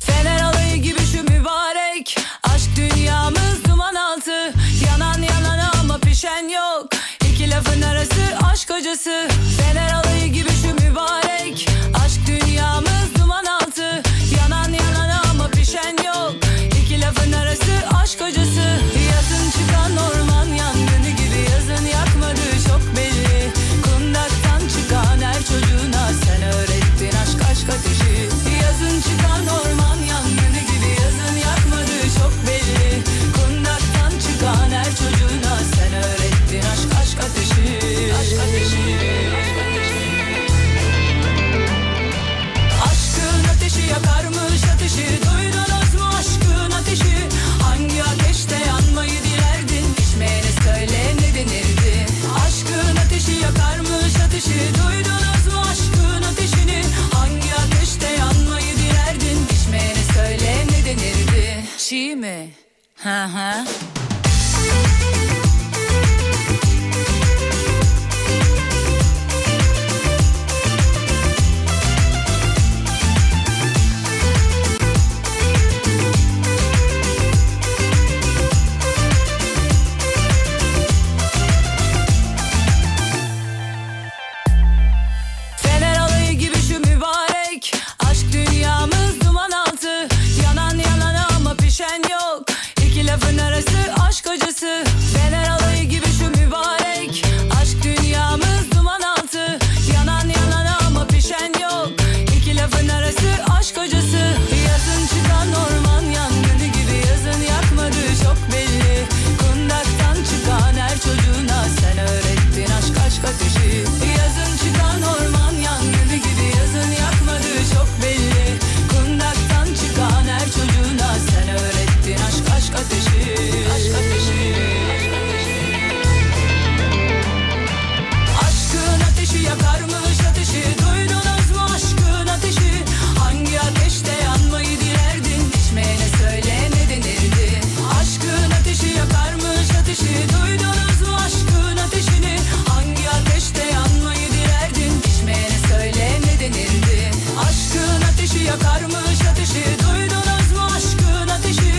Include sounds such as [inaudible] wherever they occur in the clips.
Fener alayı gibi şu mübarek Aşk dünyamız duman altı Yanan yanan ama pişen yok İki lafın arası aşk hocası Fener alayı gibi şu mübarek Aşk dünyamız duman altı Yanan yanan ama pişen yok İki lafın arası aşk hocası Yazın çıkan orman yangını gibi Yazın yakmadığı çok belli Kundaktan çıkan her çocuğuna Sen öğrettin aşk aşk ateşi Yazın çıkan orman yangını gibi Yazın yakmadığı çok belli Kundaktan çıkan her çocuğuna Sen öğrettin aşk aşk ateşi Aşk ateşi Aşk ateşi Aşkın ateşi yakarmış ateşi Duydunuz mu aşkın ateşi Hangi ateşte yanmayı dilerdin Pişmeyene söyle ne denirdi Aşkın ateşi yakarmış ateşi Duydunuz mu aşkın ateşini Hangi ateşte yanmayı dilerdin Pişmeyene söyle ne denirdi Çiğ mi? Ha ha Fener alayı gibi şu mübarek Aşk dünyamız duman altı Yanan yanan ama pişen yok İki lafın arası aşk acısı Fener alayı gibi şu mübarek Aşk dünyamız duman altı Yanan yanan ama pişen yok İki lafın arası aşk acısı Yazın çıkan orman yangını gibi Yazın yakmadığı çok belli Kundaktan çıkan her çocuğuna Sen öğrettin aşk aşk ateşi Yazın çıkan orman yangını gibi Yazın yakmadığı çok belli Kundaktan çıkan her çocuğuna Sen öğrettin aşk aşk ateşi Aşk ateşi Aşk ateşi Aşkın ateşi yakarmış ateşi Duydunuz mu aşkın ateşi Hangi ateşte yanmayı dilerdin Pişmeyene söyle ne denirdi Aşkın ateşi yakarmış ateşi Duydunuz mu aşkın ateşini Hangi ateşte yanmayı dilerdin Pişmeyene söyle ne denirdi Aşkın ateşi yakarmış ateşi Duydunuz mu aşkın ateşi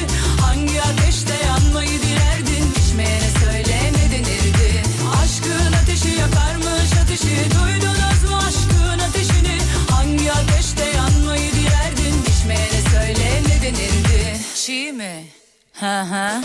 Hangi ateşte yanmayı dilerdin Pişmeyene söyle ne denirdi Aşkın ateşi yakarmış ateşi Duydunuz mu aşkın ateşini Hangi ateşte yanmayı dilerdin Pişmeyene söyle ne denirdi Çiğ mi? Ha ha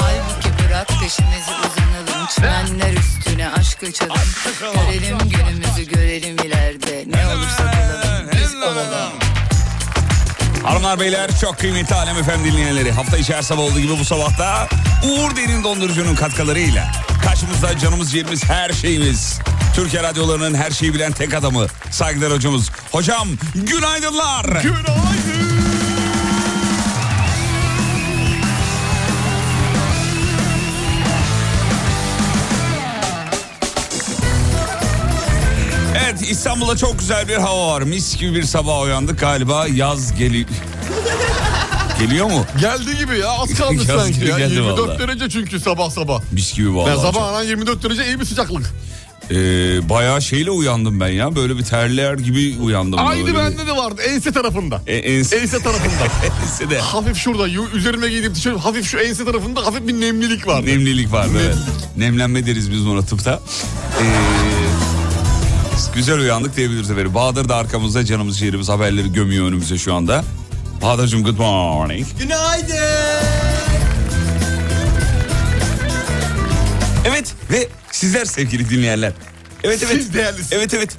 Halbuki bırak peşimizi uzanalım Çimenler üstüne aşk açalım Görelim günümüzü görelim ileride Ne olursa olalım biz olalım Hanımlar beyler çok kıymetli Alem Efem dinleyenleri. Hafta içi her sabah olduğu gibi bu sabahta Uğur Derin Dondurucu'nun katkılarıyla karşımızda canımız ciğerimiz her şeyimiz. Türkiye radyolarının her şeyi bilen tek adamı saygılar hocamız. Hocam günaydınlar. Evet İstanbul'da çok güzel bir hava var. Mis gibi bir sabah uyandık galiba yaz geli... geliyor mu? Geldi gibi ya az kaldı [laughs] Yaz sanki gibi ya. geldi 24 vallahi. derece çünkü sabah sabah. Mis gibi vallahi. Ben çok- sabah anan 24 derece iyi bir sıcaklık. Ee, bayağı şeyle uyandım ben ya. Böyle bir terler gibi uyandım. Aynı Böyle bende de vardı ense tarafında. bir- E, ense- Ense [laughs] tarafında. ense de hafif şurada yu- üzerime giydiğim tişört hafif şu ense tarafında hafif bir nemlilik vardı. nemlilik var böyle. Nemlenme deriz biz ona tıpta. Ee, güzel uyandık diyebiliriz efendim. Bahadır da arkamızda canımız ciğerimiz haberleri gömüyor önümüze şu anda. Bahadır'cığım good morning. Günaydın. Evet ve sizler sevgili dinleyenler. Evet evet. Siz değerlisiniz. Evet evet.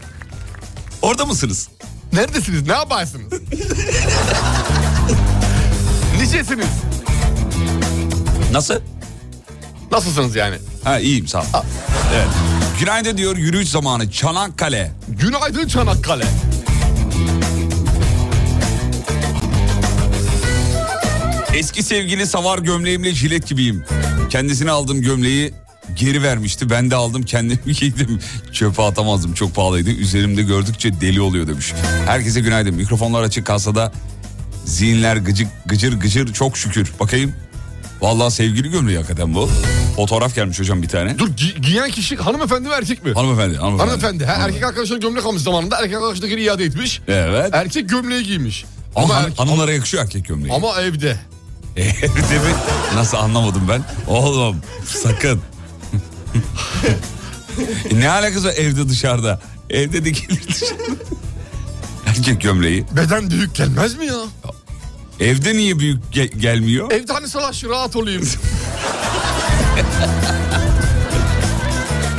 Orada mısınız? Neredesiniz ne yaparsınız? [laughs] Nicesiniz? Nasıl? Nasılsınız yani? Ha iyiyim sağ ol. Evet. Günaydın diyor yürüyüş zamanı Çanakkale. Günaydın Çanakkale. Eski sevgili savar gömleğimle jilet gibiyim. Kendisine aldığım gömleği geri vermişti. Ben de aldım kendimi [laughs] giydim. Çöpe atamazdım çok pahalıydı. Üzerimde gördükçe deli oluyor demiş. Herkese günaydın. Mikrofonlar açık kalsa da zihinler gıcık, gıcır gıcır çok şükür. Bakayım. Vallahi sevgili gömleği hakikaten bu. Fotoğraf gelmiş hocam bir tane. Dur gi- giyen kişi hanımefendi mi erkek mi? Hanımefendi, hanımefendi. Hanımefendi. Ha, erkek arkadaşına gömlek almış zamanında erkek arkadaşındakini iade etmiş. Evet. Erkek gömleği giymiş. Ama, Ama, han- erkek- hanımlara yakışıyor erkek gömleği. ama evde. Değil mi? Nasıl anlamadım ben? Oğlum sakın. [laughs] E ne alakası var evde dışarıda? Evde de gelir dışarıda. Erkek gömleği. Beden büyük gelmez mi ya? Evde niye büyük ge- gelmiyor? Evde hani salaş rahat [laughs] olayım.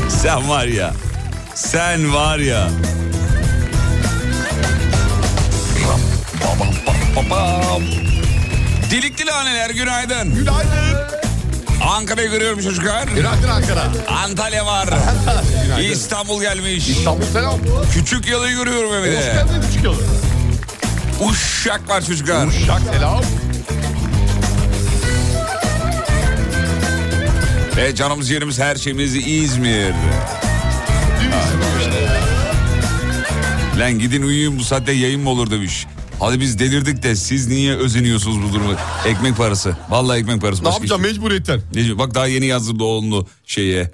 Sen var ya. Sen var ya. Ram, ba, bam, ba, ba, bam. Delikli laneler günaydın. Günaydın. Ankara'yı görüyorum çocuklar. Günaydın Ankara. Antalya var. İstanbul gelmiş. İstanbul selam. Küçük yalı görüyorum Hoş evde. geldin küçük yolu. Uşak var çocuklar. Uşak selam. Ve canımız yerimiz her şeyimiz İzmir. Lan gidin uyuyun bu saatte yayın mı olur demiş. Hadi biz delirdik de siz niye özeniyorsunuz bu durumu? Ekmek parası. Vallahi ekmek parası. Ne Başka yapacağım hiçbir- mecburiyetten? Necmi, Bak daha yeni yazdırdı oğlunu şeye.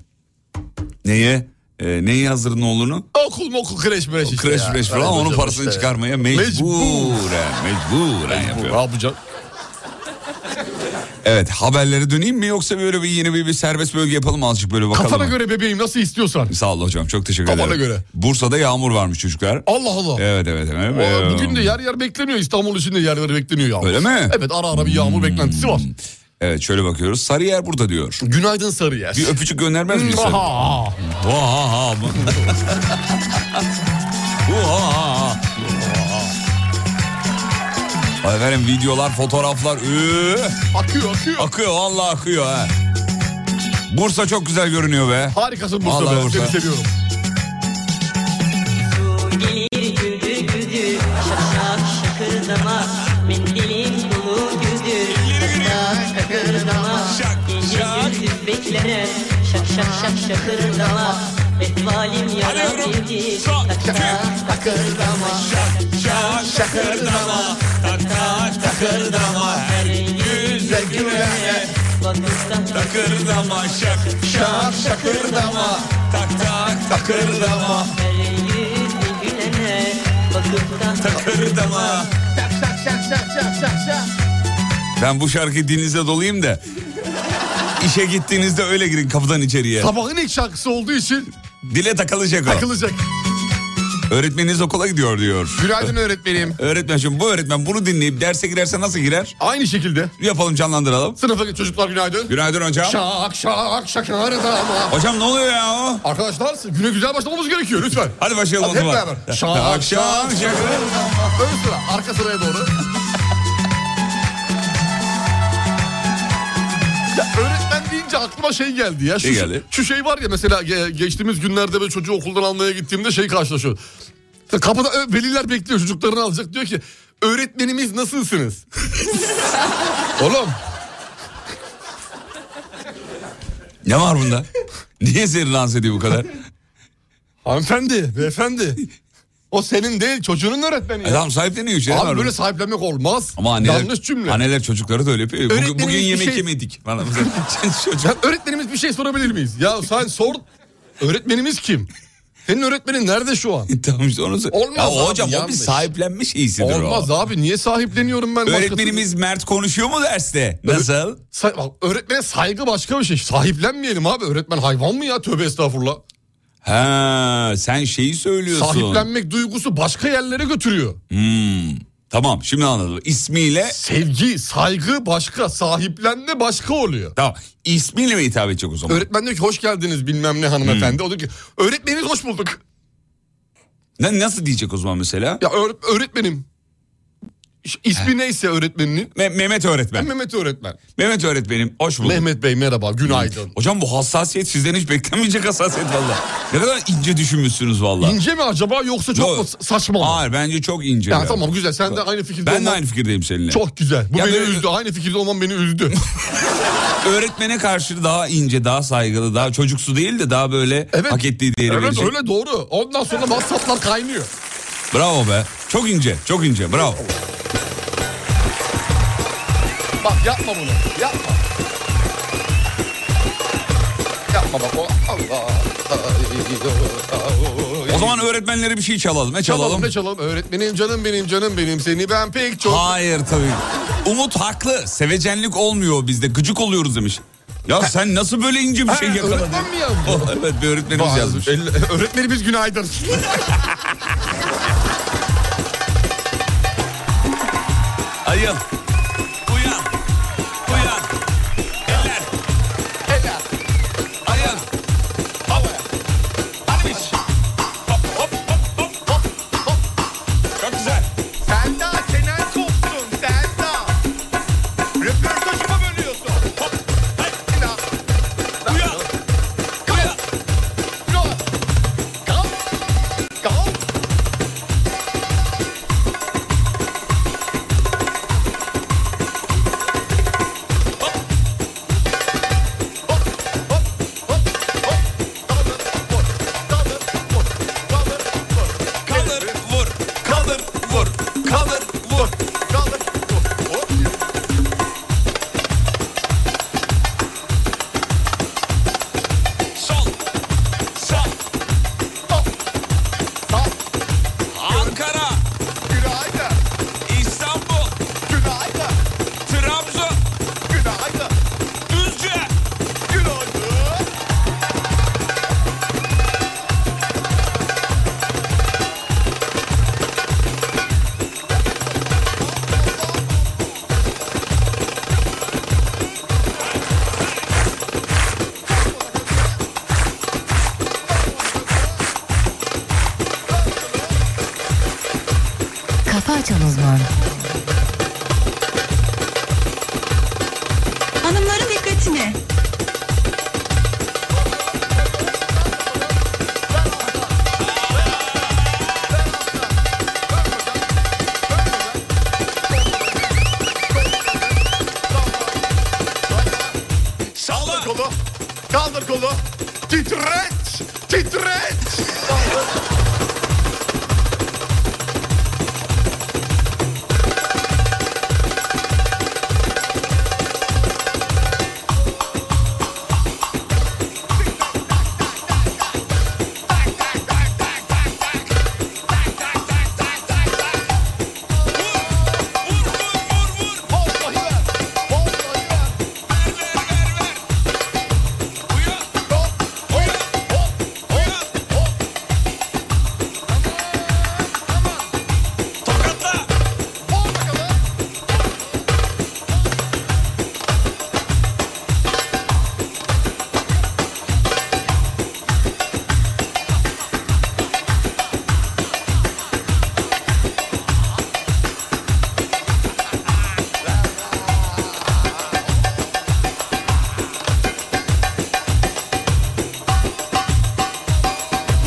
Neye? Ee, neyi yazdırdın oğlunu? Okul mu okul kreş mreş işte Kreş ya. mreş falan Evet onun hocam parasını işte. çıkarmaya mecburen. Mecburen yapıyor. Ne yapacağım? Evet haberlere döneyim mi yoksa böyle bir yeni bir, bir serbest bölge yapalım mı? azıcık böyle bakalım. Kafana mı? göre bebeğim nasıl istiyorsan. Sağ ol hocam çok teşekkür Kafana ederim. göre. Bursa'da yağmur varmış çocuklar. Allah Allah. Evet evet evet. Ee, Aa, Bugün de yer yer bekleniyor. İstanbul için de yer yer bekleniyor yağmur. Öyle mi? Hmm. Evet ara ara bir yağmur beklentisi var. Evet şöyle bakıyoruz. Sarıyer burada diyor. Günaydın Sarıyer. Bir öpücük göndermez misin? Aha, [laughs] aha. Vaha mı? Vaha. Vaha. Efendim videolar, fotoğraflar üh, Akıyor akıyor. akıyor vallahi akıyor ha. Bursa çok güzel görünüyor be. Harikasın Bursa Vallahi be. Bursa. Seni seviyorum. gelir güldür güldür Şak şak şakırdama Mendilim dolu güldür Şak şak şakırdama Şak, Gece şak. gündüz beklere Şak şak şak şakırdama Bedvalim Alıyorum. yarabildi Şak, Tak tak şak. takırdama Şakırdama, tak tak takırdama, her yüze gülene. Bak usta Takırdama, şak şak şakırdama, tak tak takırdama, her yüzlü gülene Bakıp da takırdama. Ben bu şarkıyı dilinizde dolayım da işe gittiğinizde öyle girin kapıdan içeriye. Sabahın ilk şarkısı olduğu için Dile takılacak o. takılacak. Öğretmeniniz okula gidiyor diyor. Günaydın öğretmenim. Öğretmen şimdi bu öğretmen bunu dinleyip derse girerse nasıl girer? Aynı şekilde Yapalım canlandıralım. sınıfa çocuklar günaydın. Günaydın hocam. Şak şak şakırdama. Hocam ne oluyor ya o? Arkadaşlar güne güzel başlamamız gerekiyor lütfen. Hadi başlayalım Hadi o hep zaman. beraber. [laughs] Şak şak şakırdama. Ön sıra arka sıraya doğru. [laughs] Ya öğretmen deyince aklıma şey geldi ya. Şu, Ne geldi? şu şey var ya mesela ge- geçtiğimiz günlerde böyle çocuğu okuldan almaya gittiğimde şey karşılaşıyor. İşte Kapıda ö- veliler bekliyor çocuklarını alacak. Diyor ki öğretmenimiz nasılsınız? [laughs] Oğlum Ne var bunda? [laughs] Niye seni lanse ediyor [laughs] bu kadar? hanımefendi beyefendi o senin değil çocuğunun öğretmeni. Ya. Adam sahipleniyor işte. ne var Abi böyle bunda? sahiplenmek olmaz. Ama anneler, Yanlış cümle. anneler çocukları da öyle yapıyor. Bugün, Öğretmenimiz bugün bir yemek şey- yemedik. Falan. [laughs] Çocuk- Ya [laughs] öğretmenimiz bir şey sorabilir miyiz? Ya sen sor. Öğretmenimiz kim? Senin öğretmenin nerede şu an? tamam işte onu sor- Olmaz ya, abi, hocam o bir yanlış. sahiplenmiş iyisidir Olmaz o. abi niye sahipleniyorum ben? başka türlü? Öğretmenimiz Mert konuşuyor mu derste? Nasıl? Say- bak, öğretmene saygı başka bir şey. Sahiplenmeyelim abi. Öğretmen hayvan mı ya? Tövbe estağfurullah. Ha, sen şeyi söylüyorsun. Sahiplenmek duygusu başka yerlere götürüyor. Hmm. Tamam şimdi anladım. İsmiyle Sevgi, saygı başka. Sahiplenme başka oluyor. tamam. İsmiyle mi hitap edecek o zaman? Öğretmen diyor ki hoş geldiniz bilmem ne hanımefendi. O diyor ki öğretmenimiz hoş bulduk. Ne- nasıl diyecek o zaman mesela? Ya öğret- öğretmenim. İsmi neyse öğretmeninin. Me- Mehmet öğretmen. Mehmet öğretmen. Mehmet öğretmenim hoş bulduk. Mehmet Bey merhaba günaydın. Hocam bu hassasiyet sizden hiç beklenmeyecek hassasiyet valla. Ne kadar ince düşünmüşsünüz valla. İnce mi acaba yoksa çok Yok. mu sa- saçma mı? Hayır bence çok ince. Ya ya. tamam güzel sen de aynı fikirde Ben de olman- aynı fikirdeyim seninle. Çok güzel. Bu Ya beni böyle- üzdü. Aynı fikirde olman beni [laughs] üzdü. Öğretmene karşı daha ince, daha saygılı, daha çocuksu değil de daha böyle Evet. hak ettiği değeri evet verecek. öyle doğru. Ondan sonra WhatsApp'lar kaynıyor. Bravo be. Çok ince, çok ince. Bravo. Bak yapma bunu. Yapma. Yapma bak. o- Allah. O zaman öğretmenlere bir şey çalalım. Ne çalalım? çalalım ne çalalım? Öğretmenim canım benim canım benim seni ben pek çok. Hayır tabii. Umut haklı. Sevecenlik olmuyor bizde. Gıcık oluyoruz demiş. Ya sen nasıl böyle ince bir şey Ha, yakaladın? öğretmen mi yazdı? Oh, evet bir öğretmenimiz Vay, yazmış. el- Öğretmenimiz günaydın. Ayıl. Uyan. Uyan. Eller. Helal. Ayıl. Hop. Hadi biç. Hop hop hop hop hop. Çok güzel. Sen daha çenen kopsun sen daha. Röportajımı bölüyorsun. Hop. Hadi. Uyan. Uyan. Kalk. Kalk. Kalk. Kaldır vur. Kaldır vur. Kaldır vur. Sol. Sağ. Ankara. İstanbul. Trabzon. Düzce. Kafa Açan Uzman. Hanımların dikkatine. Salla. kolu. Kaldır kolu. Titret. Titret. Kaldır. Vallahi ver. Vallahi ver. Hop. Hop. Hop. Hop. Hop. Vur bakalım.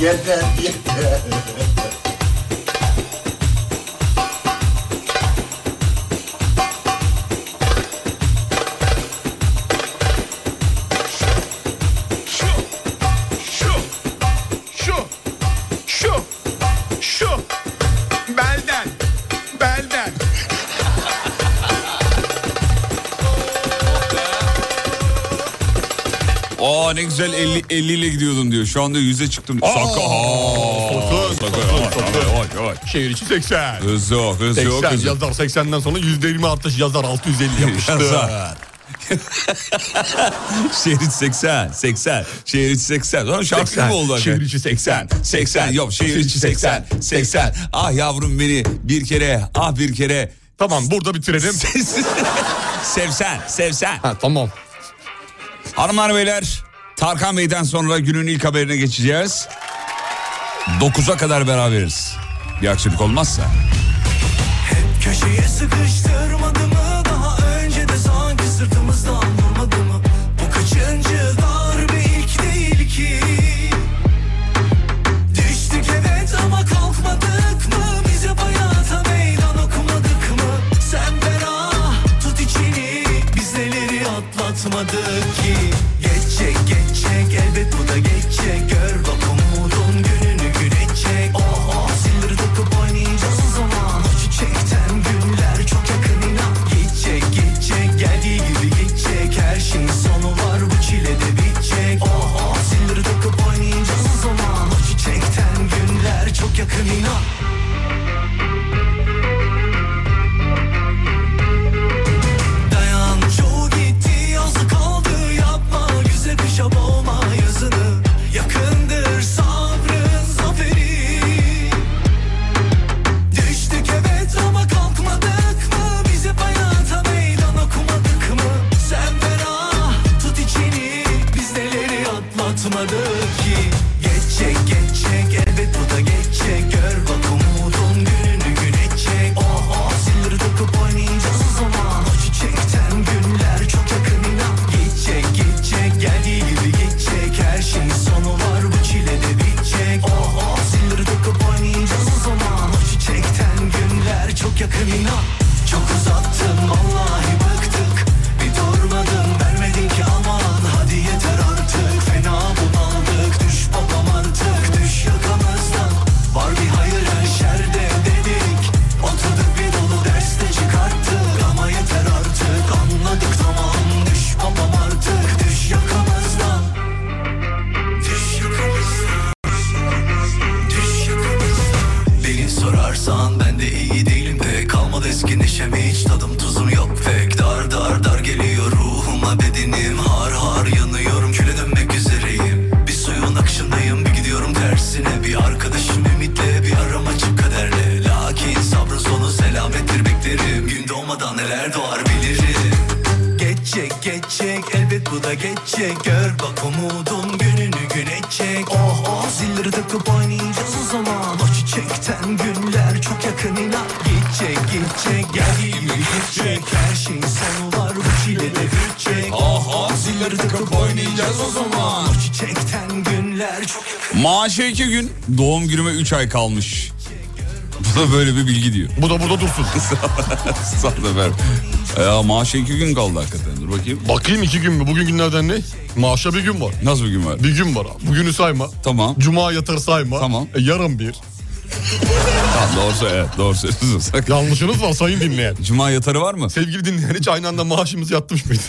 Yeter yeter. Şu, şu, şu, şu. Belden, belden. Aa ne güzel 50, 50 ile gidiyordun diyor. Şu anda 100'e çıktım. Saka. Sakın, Saka. sakın, Yavaş, sakın. yavaş, yavaş. Şehir içi 80. Hızlı ol, hızlı ol, 80 hızlı ol. yazar 80'den sonra %20 artış yazar [laughs] 650 yapmıştı. Yazar. Şehir 80, 80, şehir 80. Lan şarkı 80, gibi oldu hakikaten. şehir içi 80, 80, yok şehir içi 80, 80. Ah yavrum beni bir kere, ah bir kere. [laughs] Tamam burada bitirelim. sevsen, sevsen. Ha, tamam. Hanımlar beyler Tarkan Bey'den sonra günün ilk haberine geçeceğiz. 9'a kadar beraberiz. Bir aksilik olmazsa. Hep Köşeye sıkıştırmadı mı daha önce de sanki sırtımızdan vurmadı mı Bu kaçıncı darbe ilk değil ki Düştük evet ama kalkmadık mı Bize hayata meydan okumadık mı Sen ferah tut içini Biz neleri atlatmadık ki Geçecek geçecek elbet bu da geçecek Gör bak umudun gününü güneşecek Oh oh sildir takıp oynayacağız o zaman O çiçekten günler çok yakın inan Geçecek geçecek geldiği gibi geçecek Her şeyin sonu var bu çile de bitecek Oh oh sildir takıp oynayacağız o zaman O çiçekten günler çok yakın inan Dayan çoğu gitti azı kaldı yapma Güzel kışa boğma yazını Yakındır sabrın zaferi Düştük evet ama kalkmadık mı Biz hep hayata meydan okumadık mı Sen ferah tut içini Biz neleri atlatmadık ki Geçecek geçecek elbet bu da geçecek Gör bak umudun gününü güneşecek Oh oh sildir takıp oynayacağız o zaman O çiçekten günler çok yakın inan Geçecek geçecek geldiği gibi geçecek Her şeyin sonu var bu çile de bitecek Oh oh sildir takıp oynayacağız o zaman O çiçekten günler çok yakın inan Çok uzattım vallahi bıktık Bir durmadım vermedin ki aman Hadi yeter artık fena bunaldık Düş babam artık düş yakamızdan Var bir hayır her şerde dedik Oturduk bir dolu derste çıkarttık Ama yeter artık anladık tamam Düş babam artık düş yakamızdan Düş yakamızdan Düş yakamızdan Beni sorarsan ben de iyi değilim pek Kalmadı eski neşem hiç tadım tuzum yok pek Dar dar dar geliyor ruhuma bedenim Har har yanıyorum küle dönmek üzereyim Bir suyun akışındayım bir gidiyorum tersine Bir arkadaşım ümitle bir aram açık kaderle Lakin sabrın sonu selamettir beklerim Gün doğmadan neler doğar bilirim Geçecek geçecek elbet bu da geçecek Gör bak umudun gününü güneşecek Oh oh zilleri takıp oynayacağız o zaman O çiçekten günler çok yakın inan Geçecek geçecek geldiği gibi geçecek Her şeyin sonu var bu çile de bitecek Oh oh zilleri takıp oynayacağız o zaman O çiçekten günler çok yakın Maaşı iki gün, doğum günüme üç ay kalmış. [laughs] Bu da böyle bir bilgi diyor. Bu da burada dursun. Sağ ol efendim. E, Ya maaşa iki gün kaldı hakikaten. Dur bakayım. Bakayım iki gün mü? Bugün günlerden ne? Maaşa bir gün var. Nasıl bir gün var? Bir gün var abi. Bugünü sayma. Tamam. Cuma yatır sayma. Tamam. E, yarın bir. Tamam, doğrusu evet doğru söylüyorsun. [laughs] Yanlışınız var sayın dinleyen. Cuma yatarı var mı? Sevgili dinleyen hiç aynı anda maaşımız yatmış mıydı?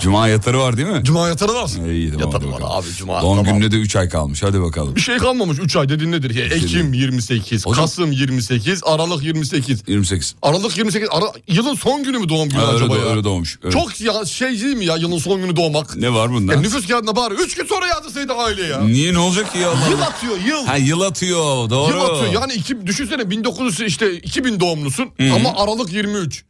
Cuma yatarı var değil mi? Cuma yatarı var. İyi tamam. Yatarı hadi var bakalım. abi cuma. Doğum tamam. gününe de 3 ay kalmış. Hadi bakalım. Bir şey kalmamış 3 ay dediğin nedir? Ya, Ekim 28, Hocam- Kasım 28, Aralık 28. 28. Aralık 28, Ara- yılın son günü mü doğum günü Ha, öyle, acaba do- ya? öyle doğmuş. öyle. Çok ya şey değil mi ya yılın son günü doğmak? Ne var bunda? E, nüfus kağıdına bari 3 gün sonra yazdırsaydı aile ya. Niye ne olacak ki ya Allah? Yıl atıyor yıl. Ha yıl atıyor doğru. Yıl atıyor. Yani iki, düşünsene 1900 işte 2000 doğumlusun ama Aralık 23.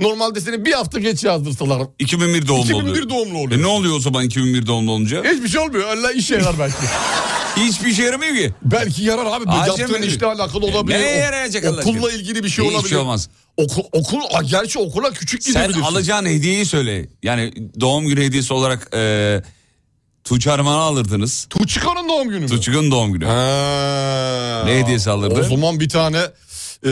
Normalde seni bir hafta geç yazdırsalar. 2001 doğumlu 2001 oluyor. doğumlu oluyor. E ne oluyor o zaman 2001 doğumlu olunca? Hiçbir şey olmuyor. Allah işe yarar belki. Hiçbir şey yaramıyor ki. belki yarar abi. Acem Yaptığın mi? işle alakalı olabilir. Nereye O- yarayacak Allah Okulla aşkına? ilgili bir şey Hiçbir olabilir. şey olmaz. Okul, okul, a, gerçi okula küçük Sen gidebilirsin. alacağın hediyeyi söyle. Yani doğum günü hediyesi olarak e, Tuğçe Armağan'ı alırdınız. Tuğçika'nın doğum günü mü? Tuğçe'nin doğum günü. Ha. Ne hediyesi alırdı? O zaman bir tane e,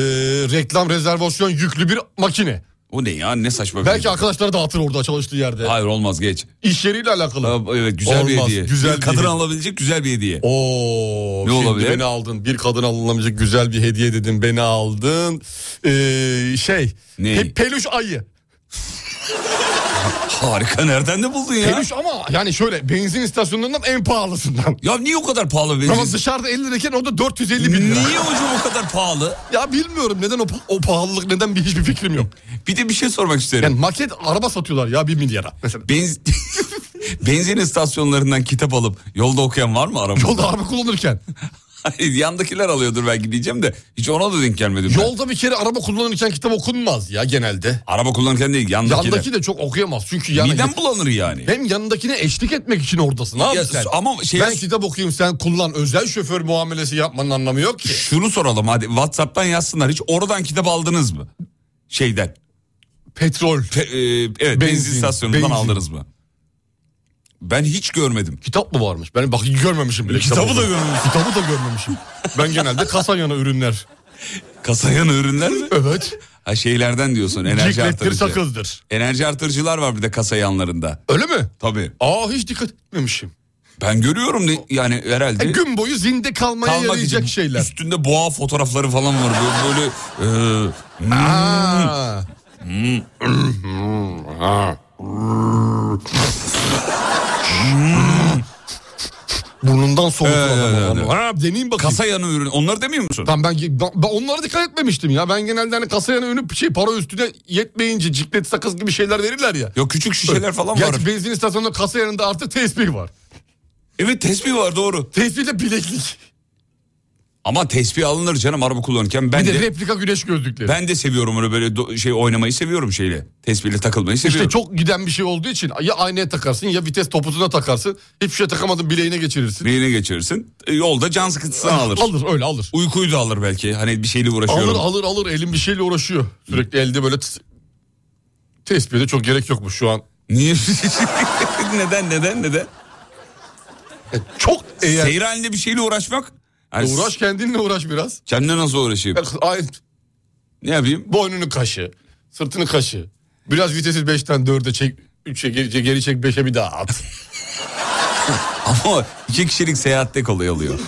reklam rezervasyon yüklü bir makine. O ne ya ne saçma bir Belki hediye. arkadaşları dağıtır orada çalıştığı yerde. Hayır olmaz geç. İş yeriyle alakalı. Ha, Evet güzel bir Olmaz, hediye. güzel bir bir kadın hediye. alabilecek güzel bir hediye. Oo, Ne şimdi olabilir? beni aldın. Bir kadın alınamayacak güzel bir hediye dedin. Beni aldın. Ee, şey. Ne? pe- peluş ayı. Harika nereden de buldun ya? Peluş ama yani şöyle benzin istasyonlarından en pahalısından. Ya niye o kadar pahalı benzin? Ama dışarıda 50 lirayken orada 450 bin lira. Niye hocam o kadar pahalı? Ya bilmiyorum neden o, pa- o pahalılık neden bir hiçbir fikrim yok. Bir de bir şey sormak isterim. Yani maket araba satıyorlar ya 1 milyara. Mesela Benz... [laughs] Benzin istasyonlarından kitap alıp yolda okuyan var mı arabada? yolda araba kullanırken. [laughs] Yandakiler alıyordur belki diyeceğim de hiç ona da denk gelmedim. ben. Yolda bir kere araba kullanırken kitap okunmaz ya genelde. Araba kullanırken değil yandakiler. Yandaki de çok okuyamaz çünkü yani Midem bulanır yani. hem yanındakine eşlik etmek için oradasın abi Ya, sen. ama şey- Ben kitap okuyayım sen kullan özel şoför muamelesi yapmanın anlamı yok ki. Şunu soralım hadi WhatsApp'tan yazsınlar. Hiç oradan kitap aldınız mı? Şeyden. Petrol. Pe- e, evet benzin, Benzin, istasyonundan benzin. aldınız mı? Ben hiç görmedim. Kitap mı varmış? Ben bak görmemişim bile. Kitabı kitap da olduğunu. görmemişim. Kitabı da görmemişim. Ben genelde kasan yana ürünler. Kasayan [laughs] ürünler mi? Evet. Ha şeylerden diyorsun enerji Ciklettir, artırıcı. sakızdır. Enerji artırıcılar var bir de kasa yanlarında. Öyle mi? Tabii. Aa hiç dikkat etmemişim. Ben görüyorum ne- yani herhalde. E, gün boyu zinde kalmaya kalmak yarayacak için şeyler. Üstünde boğa fotoğrafları falan var. Böyle, böyle e, hmm, Aa. Burnundan soğutur evet, adamı. evet. Ha, deneyeyim bakayım. kasa yanı ürünü. Onları demiyor musun? Tamam ben, ben, ben onlara dikkat etmemiştim ya. Ben genelde hani kasaya önüp şey para üstüne yetmeyince ciklet sakız gibi şeyler verirler ya. Yok küçük şişeler falan var. Gerçi benzin istasyonunda kasa yanında artık tespih var. Evet tespih var doğru. Tespihle bileklik. Ama tespih alınır canım araba kullanırken. Ben Bir de de, replika güneş gözlükleri. ben de seviyorum öyle böyle do- şey oynamayı seviyorum şeyle. Tespihle takılmayı seviyorum. İşte çok giden bir şey olduğu için ya aynaya takarsın ya vites topuzuna takarsın. Hiçbir şey takamadın bileğine geçirirsin. Neyine geçirirsin? E, Yolda can sıkıntısını alır. Alır öyle alır. Uykuyu da alır belki. Hani bir şeyle uğraşıyorum. Alır alır alır elin bir şeyle uğraşıyor. Sürekli elde böyle tıs- tespihe de çok gerek yokmuş şu an. Niye? [laughs] neden neden neden? Çok eğer Seyir halinde bir şeyle uğraşmak. Yani uğraş kendinle uğraş biraz. Kendine nasıl uğraşayım? Bak, Ay, Ne yapayım? [laughs] boynunu kaşı, sırtını kaşı. Biraz vitesi 5'ten 4'e çek, 3'e geri, geri çek 5'e bir daha at. [laughs] Ama iki kişilik seyahatte [laughs] kolay oluyor.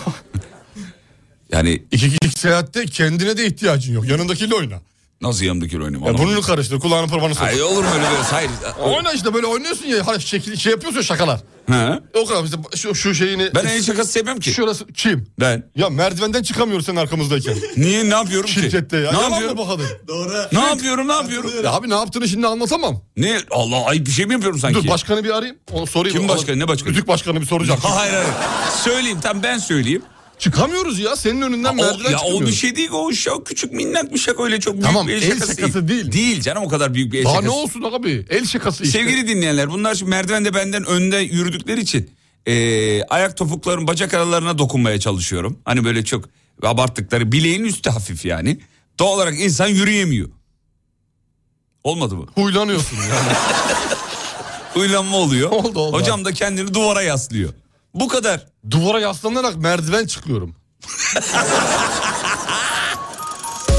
yani İki kişilik seyahatte kendine de ihtiyacın yok. Yanındakiyle oyna. nasıl yanımdaki oynayayım? Ya anlamadım. burnunu karıştır, kulağını parmağını sok. Ay olur mu öyle bir hayır. Oyna işte böyle oynuyorsun ya ha, şekil, şey yapıyorsun şakalar. Ha? O kadar işte şu, şu şeyini... Ben el şakası sevmem ki. [laughs] Şurası kim? Ben. Ya merdivenden çıkamıyoruz senin [laughs] arkamızdayken. Niye ne yapıyorum ki? Şirkette ya. Ne Yalan mı yapıyorum? bu kadın? Ne yapıyorum? Ne yapıyorum? Ya abi ne yaptığını şimdi anlatamam. Ne? Allah ay bir şey mi yapıyorum sanki? Dur başkanı bir arayayım. Onu sorayım. Kim Ona- başkanı, ne başkanı? Müdük başkanı bir şey soracağım. Ha, hayır hayır. Söyleyeyim tam ben söyleyeyim. Çıkamıyoruz ya. Senin önünden O, merdiven ya o çıkamıyoruz. bir şey değil ki, o şak küçük minnak bir şak öyle çok büyük Tamam, bir el el şakası, şakası değil. Değil canım o kadar büyük bir el Daha şakası. ne olsun abi? El şakası işte. Sevgili dinleyenler bunlar şimdi merdivende benden önde yürüdükleri için eee, ayak topukların bacak aralarına dokunmaya çalışıyorum. Hani böyle çok abarttıkları bileğin üstü hafif yani. Doğal olarak insan yürüyemiyor. Olmadı mı? Huylanıyorsun [laughs] yani. Uylanma [laughs] oluyor. Oldu, oldu. Hocam da kendini duvara yaslıyor. Bu kadar. Duvara yaslanarak merdiven çıkıyorum.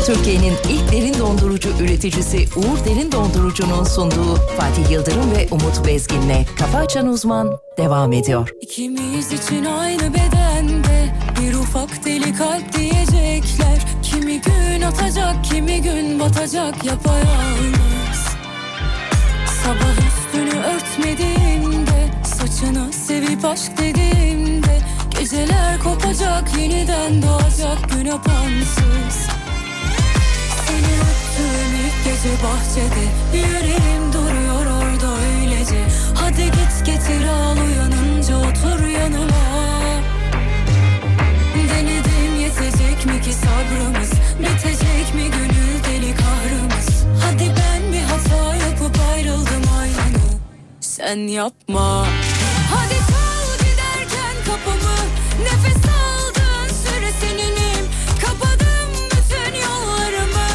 Türkiye'nin ilk derin dondurucu üreticisi Uğur Derin Dondurucu'nun sunduğu Fatih Yıldırım ve Umut Bezgin'le Kafa Açan Uzman devam ediyor. İkimiz için aynı bedende Bir ufak deli kalp diyecekler Kimi gün atacak kimi gün batacak yapayalnız Sabah üstünü örtmediğimde Saçını sevip aşk dediğimde Geceler kopacak yeniden doğacak gün apansız seni öptüğüm ilk gece bahçede Yüreğim duruyor orada öylece Hadi git getir al uyanınca otur yanıma Denedim yetecek mi ki sabrımız Bitecek mi gönül deli kahrımız Hadi ben bir hata yapıp ayrıldım aynı Sen yapma Hadi kal giderken kapımı Nefes aldığın süre seninim Kapadım bütün yollarımı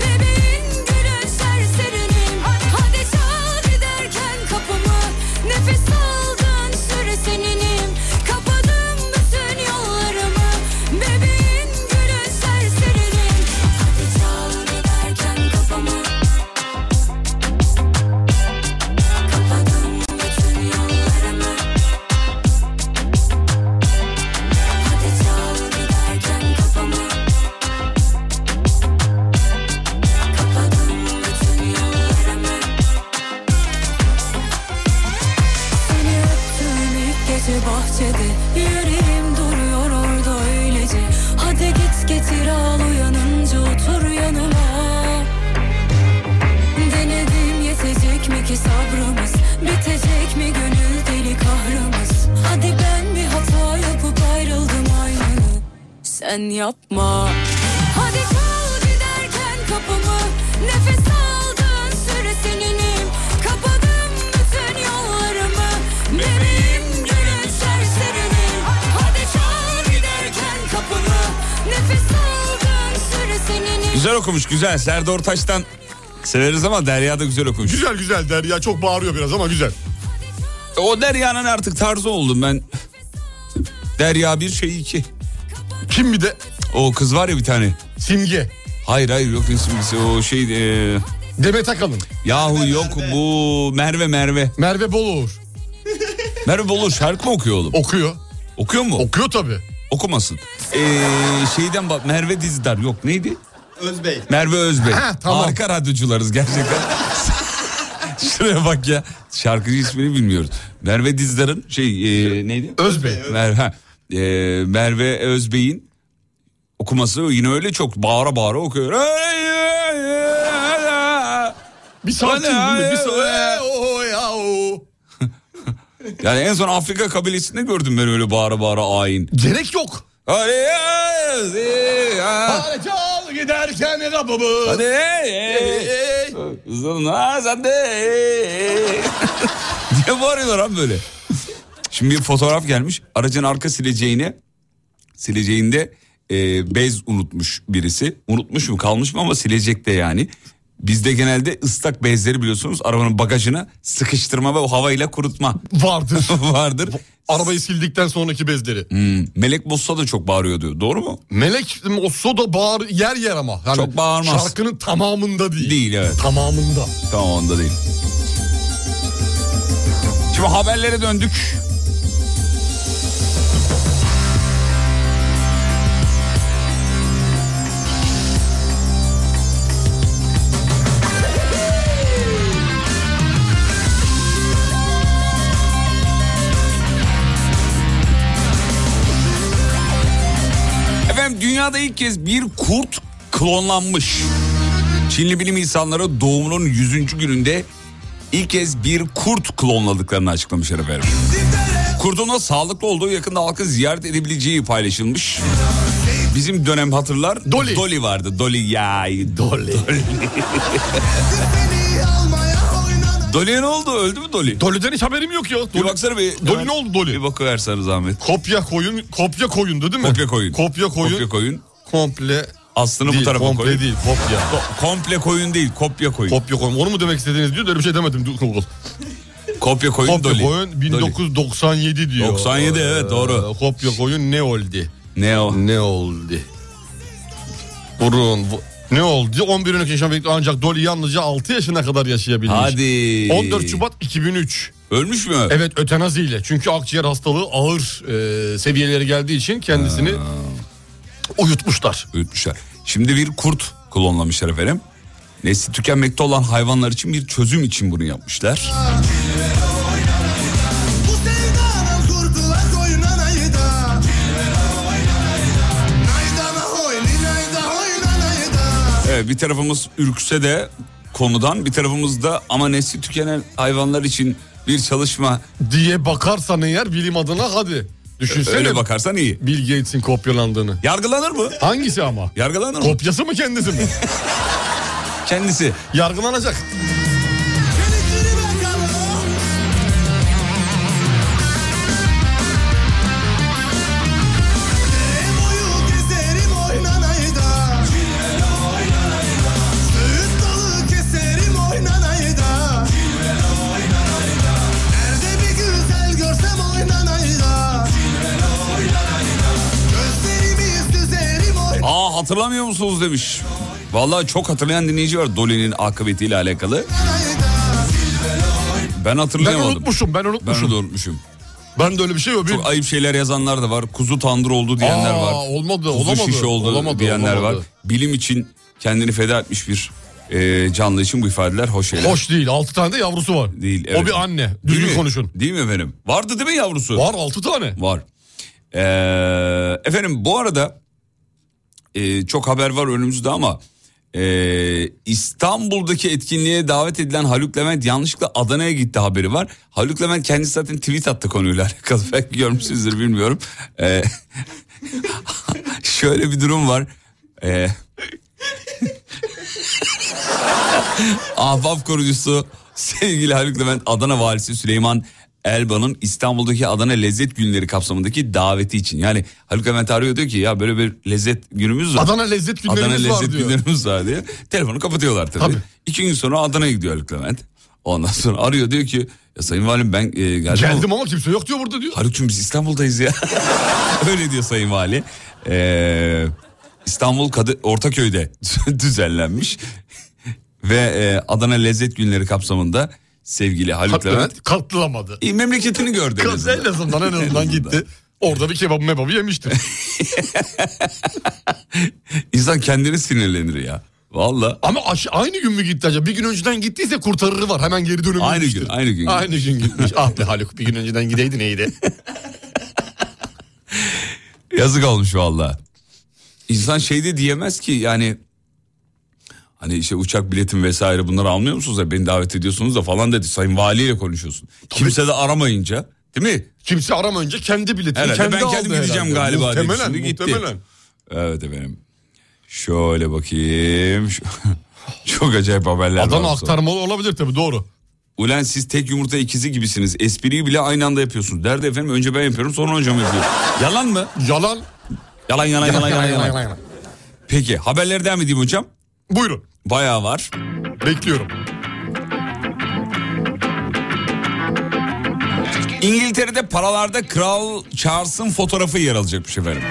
Bebeğin gülün serserinim Hadi çal giderken kapımı Nefes aldığın süre seninim Kapadım bütün yollarımı Bebeğin gülün serserinim Hadi çal giderken kapımı Kapadım bütün yollarımı Hadi çal giderken kafamı Kapadım bütün yollarımı Seni öptüğüm ilk gece bahçede Yüreğim duruyor orada öylece Hadi git getir al uyanınca otur yanıma Denedim yetecek mi ki sabrımız Bitecek mi gönül deli kahrımız Hadi ben bir hata yapıp ayrıldım aynı sen yapma. Hadi çal giderken kapımı nefes aldığın süre seninim. Kapadım bütün yollarımı bebeğim gönül serserinim. Hadi çal giderken kapımı nefes aldığın süre seninim. Güzel okumuş güzel. Serdar Taş'tan severiz ama Derya da güzel okumuş. Güzel güzel Derya çok bağırıyor biraz ama güzel. O Derya'nın artık tarzı oldum ben. Derya bir şey iki. Kim bir de? O kız var ya bir tane. Simge. Hayır hayır yok isimlisi o şey e, Demet Akalın. yahu yok bu Merve Merve. Merve Boluğur. Merve Bolu şarkı mı okuyor oğlum? Okuyor. Okuyor mu? Okuyor tabii. Okumasın. E, şeyden bak Merve Dizdar yok neydi? Özbey. Merve Özbey. Ha, tamam. Harika radyocularız gerçekten. [laughs] Şuraya bak ya. Şarkıcı ismini bilmiyoruz. Merve Dizdar'ın şey e, neydi? Özbey. Mer ha, e, Merve Özbey'in okuması yine öyle çok bağıra bağıra okuyor. Bir sakin değil mi? Bir sakin. o ya o. Yani en son Afrika kabilesinde gördüm ben öyle bağıra bağıra ayin. Gerek yok. Harcal giderken kapımı. [laughs] diye bağırıyorlar abi böyle. Şimdi bir fotoğraf gelmiş. Aracın arka sileceğini sileceğinde e, bez unutmuş birisi. Unutmuş mu kalmış mı ama silecek de yani. Bizde genelde ıslak bezleri biliyorsunuz arabanın bagajına sıkıştırma ve o havayla kurutma [laughs] Vardır. [laughs] vardır. Arabayı sildikten sonraki bezleri. Hmm, Melek Mossa da çok bağırıyordu. Doğru mu? Melek o soda bağır yer yer ama. Yani Çok bağırmaz. Şarkının tamamında değil. Değil, evet. Tamamında. Tamam onda değil. Şimdi haberlere döndük. Efendim dünyada ilk kez bir kurt klonlanmış. Çinli bilim insanları doğumunun 100. gününde ilk kez bir kurt klonladıklarını açıklamışlar efendim. Kurdun da sağlıklı olduğu yakında halkı ziyaret edebileceği paylaşılmış. Bizim dönem hatırlar. Dolly. vardı. Dolly yay. Dolly. Dolly'e ne oldu? Öldü mü Dolly? Dolly'den hiç haberim yok ya. Bir Dolly- baksana bir. Dolly ne oldu Dolly? Bir bakıversen zahmet. Kopya koyun, kopya koyundu değil mi? Kopya koyun. Kopya koyun. Kopya koyun. Komple Aslını değil, bu tarafa komple koyun. değil, kopya. Ko- komple koyun değil, kopya koyun. Kopya koyun. Onu mu demek istediğiniz diyor da öyle bir şey demedim. Dur, Google. kopya koyun Kopya Dolly. koyun Dolly. 1997 diyor. 97, evet, doğru. Ee, Kopya koyun ne oldu? Ne o? Ne oldu? Burun. bu- Ne oldu? 11 Eylül yaşam bekliyor ancak Dolly yalnızca 6 yaşına kadar yaşayabilmiş. Hadi. 14 Şubat 2003. Ölmüş mü? Evet ötenazi ile. Çünkü akciğer hastalığı ağır e, seviyelere geldiği için kendisini uyutmuşlar. Ölmüşler. Şimdi bir kurt klonlamışlar efendim. Nesli tükenmekte olan hayvanlar için bir çözüm için bunu yapmışlar. Bu sevdanın kurdular koyunan ayda Naydana hoyni nayda hoynan ayda Evet, bir tarafımız ürkse de konudan bir tarafımız da ama nesli tükenen hayvanlar için bir çalışma Diye bakarsan eğer bilim adına hadi. Düşünsene öyle bakarsan iyi. Bill Gates'in kopyalandığını. Yargılanır mı? Hangisi ama? Yargılanır mı? Kopyası mı kendisi [laughs] mi? Kendisi. Yargılanacak. Aa hatırlamıyor musunuz demiş. Vallahi çok hatırlayan dinleyici var Dolly'nin akıbetiyle alakalı. Ben Ben hatırlayamadım. unutmuşum ben Ben de unutmuşum. unutmuşum. Ben de, öyle bir şey yok. Bir- Çok ayıp şeyler yazanlar da var. Kuzu tandır oldu diyenler Aa, var. Olmadı Kuzu olamadı. şiş oldu olamadı, diyenler olamadı. var. Bilim için kendini feda etmiş bir e, canlı için bu ifadeler hoş şeyler. Hoş değil 6 tane de yavrusu var. Değil, O evet. bir anne. Değil Düzgün mi? konuşun. Değil mi efendim? Vardı değil mi yavrusu? Var 6 tane. Var. Ee, efendim bu arada e, çok haber var önümüzde ama e, İstanbul'daki etkinliğe davet edilen Haluk Levent yanlışlıkla Adana'ya gitti haberi var. [laughs] Haluk Levent kendisi zaten tweet attı konuyla alakalı. Belki görmüşsünüzdür bilmiyorum. Ee, Şöyle bir durum var. Ee, Ahbap korucusu sevgili Haluk Levent Adana valisi Süleyman Elban'ın İstanbul'daki Adana Lezzet Günleri kapsamındaki daveti için. Yani Haluk Levent arıyor diyor ki ya böyle bir lezzet günümüz var. Adana lezzet günlerimiz Adana var lezzet diyor. günlerimiz var diye. Telefonu kapatıyorlar tabii. Tabii. İki gün sonra Adana'ya gidiyor Haluk Levent. Ondan sonra arıyor diyor ki ya Sayın Valim ben e, geldim. ama- Geldim ama kimse yok diyor burada diyor. Haluk'cum biz İstanbul'dayız ya. [laughs] Öyle diyor Sayın Vali. Ee, İstanbul Kadı Ortaköy'de [laughs] düzenlenmiş. Ve e, Adana Lezzet Günleri kapsamında sevgili Haluk Levent Kalk- Kalktılamadı. e, memleketini gördü. en En azından. azından en azından gitti. Orada bir kebabı mebabı [laughs] yemiştir. İnsan kendini sinirlenir ya. Valla. Ama aş- aynı gün mü gitti acaba? Bir gün önceden gittiyse kurtarırı var. Hemen geri dönümü Aynı gün, aynı gün. Aynı gün [laughs] gitmiş. ah be Haluk bir gün önceden gideydin iyiydi. Yazık olmuş valla. İnsan şey de diyemez ki yani hani işte uçak biletim vesaire bunları almıyor musunuz da beni davet ediyorsunuz da falan dedi. Sayın valiyle konuşuyorsun. Kimse de aramayınca değil mi? Kimse aramayınca kendi biletini Herhalde kendi ben aldı kendim gideceğim herhalde. galiba diye Muhtemelen, düşündü, gitti. muhtemelen. Evet efendim. Şöyle bakayım. Şu- [laughs] Çok acayip haberler var. Adana bu sabah. aktarmalı olabilir tabii doğru. Ulan siz tek yumurta ikizi gibisiniz. Espriyi bile aynı anda yapıyorsunuz. Derdi efendim önce ben yapıyorum sonra hocam yapıyor. Yalan mı? Yalan. Yalan yalan yalan yalan. yalan. Peki haberlerden mi diyeyim hocam? Buyurun. Bayağı var. Bekliyorum. İngiltere'de paralarda Kral Charles'ın fotoğrafı yer alacakmış efendim.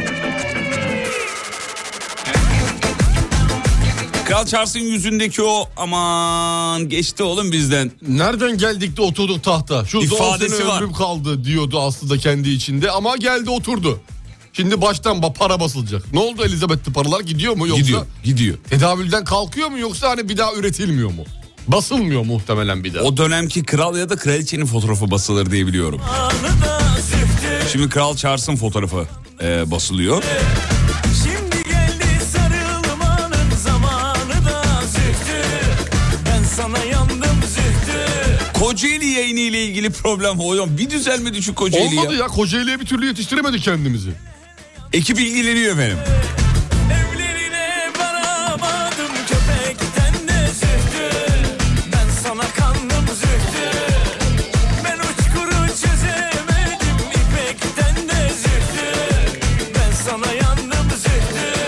Kral Charles'ın yüzündeki o aman geçti oğlum bizden Nereden geldik de oturduk tahta. Şu İfadesi İfadesi var. ömrüm kaldı diyordu aslında kendi içinde ama geldi oturdu. Şimdi baştan ba- para basılacak. Ne oldu Elizabeth'li paralar gidiyor mu yoksa? gidiyor gidiyor. Tedavülden kalkıyor mu yoksa hani bir daha üretilmiyor mu? Basılmıyor muhtemelen bir daha. O dönemki kral ya da kraliçenin fotoğrafı basılır diye biliyorum. Şimdi Kral Charles'ın fotoğrafı e, basılıyor. Şimdi geldi sarılmanın zamanı da zühtü Ben sana yandım zühtü Kocaeli yayını ile ilgili problem oluyor. Bir düzelmedi şu Kocaeli Olmadı ya. ya Kocaeli'ye bir türlü yetiştiremedik kendimizi. Ekip ilgileniyor efendim. Evlerine varamadım köpekten de zühtü Ben sana kandım zühtü Ben uçkuru çözemedim ipekten de zühtü Ben sana yandım zühtü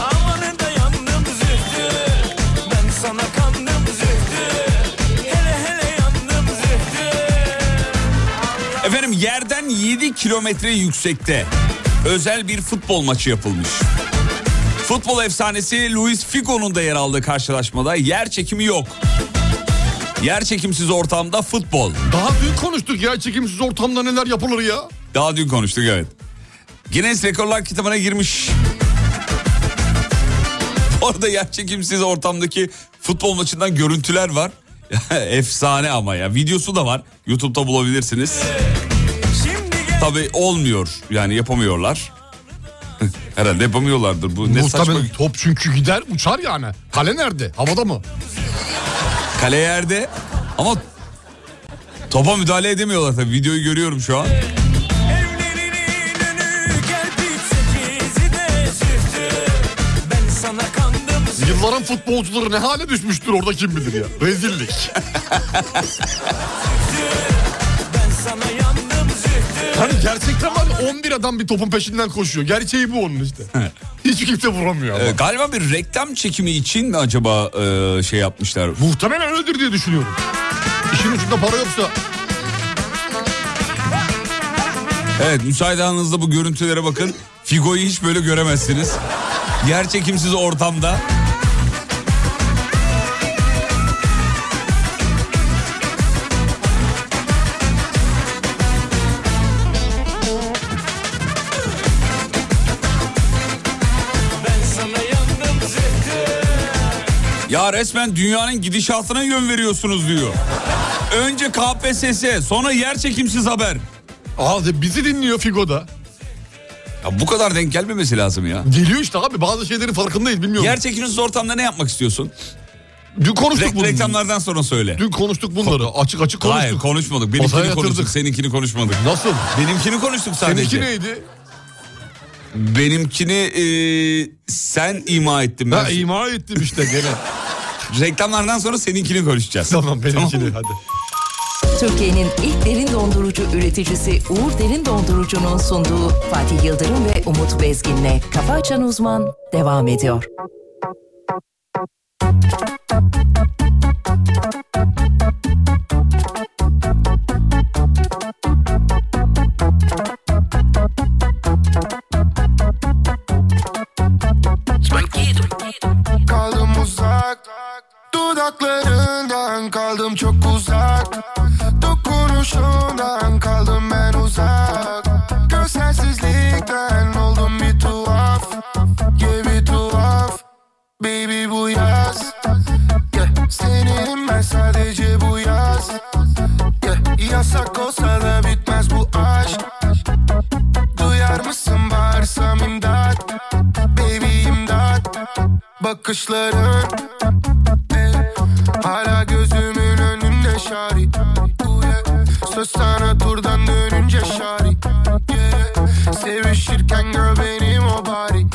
Amanın da yandım zühtü Ben sana kandım zühtü Hele hele yandım zühtü Efendim yerden 7 kilometre yüksekte özel bir futbol maçı yapılmış. Futbol efsanesi Luis Figo'nun da yer aldığı karşılaşmada yer çekimi yok. Yer çekimsiz ortamda futbol. Daha dün konuştuk ya çekimsiz ortamda neler yapılır ya. Daha dün konuştuk evet. Guinness Rekorlar kitabına girmiş. Orada yerçekimsiz ortamdaki futbol maçından görüntüler var. [laughs] Efsane ama ya. Videosu da var. YouTube'da bulabilirsiniz. Tabii olmuyor. Yani yapamıyorlar. [laughs] Herhalde yapamıyorlardır. Bu ne saçma. Muhtemelen top çünkü gider uçar yani. Kale nerede? Havada mı? Kale yerde ama topa müdahale edemiyorlar tabii. Videoyu görüyorum şu an. Evlerinin önü geldik sekizi de zühtü Ben sana kandım zühtü Yılların futbolcuları ne hale düşmüştür orada kim bilir ya. Rezillik. Ben sana yandım zühtü Hani gerçekten var ya, 11 adam bir topun peşinden koşuyor. Gerçeği bu onun işte. Hiç kimse vuramıyor ama. Ee, galiba bir reklam çekimi için mi acaba e, şey yapmışlar? Muhtemelen öyledir diye düşünüyorum. İşin ucunda para yoksa Evet müsait anınızda bu görüntülere bakın. Figo'yu hiç böyle göremezsiniz. Yer çekimsiz ortamda. Ya resmen dünyanın gidişatına yön veriyorsunuz diyor. Önce KPSS sonra yer çekimsiz haber. Abi bizi dinliyor Figo'da. Ya bu kadar denk gelmemesi lazım ya. Geliyor işte abi bazı şeylerin farkındayız bilmiyorum. Yer çekimsiz ortamda ne yapmak istiyorsun? Dün konuştuk Re- bunu. reklamlardan sonra söyle. Dün konuştuk bunları. Açık açık konuştuk. Hayır konuşmadık. Masaya Benimkini yatırdık. konuştuk, seninkini konuşmadık. Nasıl? Benimkini konuştuk sadece. Seninki neydi? Benimkini e, sen ima ettin. Ben şey- Ha, ima ettim işte gene. [laughs] Reklamlardan sonra seninkini konuşacağız. tamam benimkini hadi. Türkiye'nin ilk derin dondurucu üreticisi Uğur Derin Dondurucu'nun sunduğu Fatih Yıldırım ve Umut Bezgin'le Kafa Açan Uzman devam ediyor. Kaldım uzak Dudaklarından kaldım çok uzak Dokunuşundan kaldım ben uzak Gözlersizlikten oldum bir tuhaf Yeah bir tuhaf Baby bu yaz yeah. Seninim ben sadece bu yaz yeah. Yasak olsa da bitmez bu aşk Duyar mısın bağırsam imdat Baby imdat Bakışların eh, Hala gözümün önünde şari Oh yeah. Söz sana turdan dönünce şari yeah. Sevişirken gör benim o bari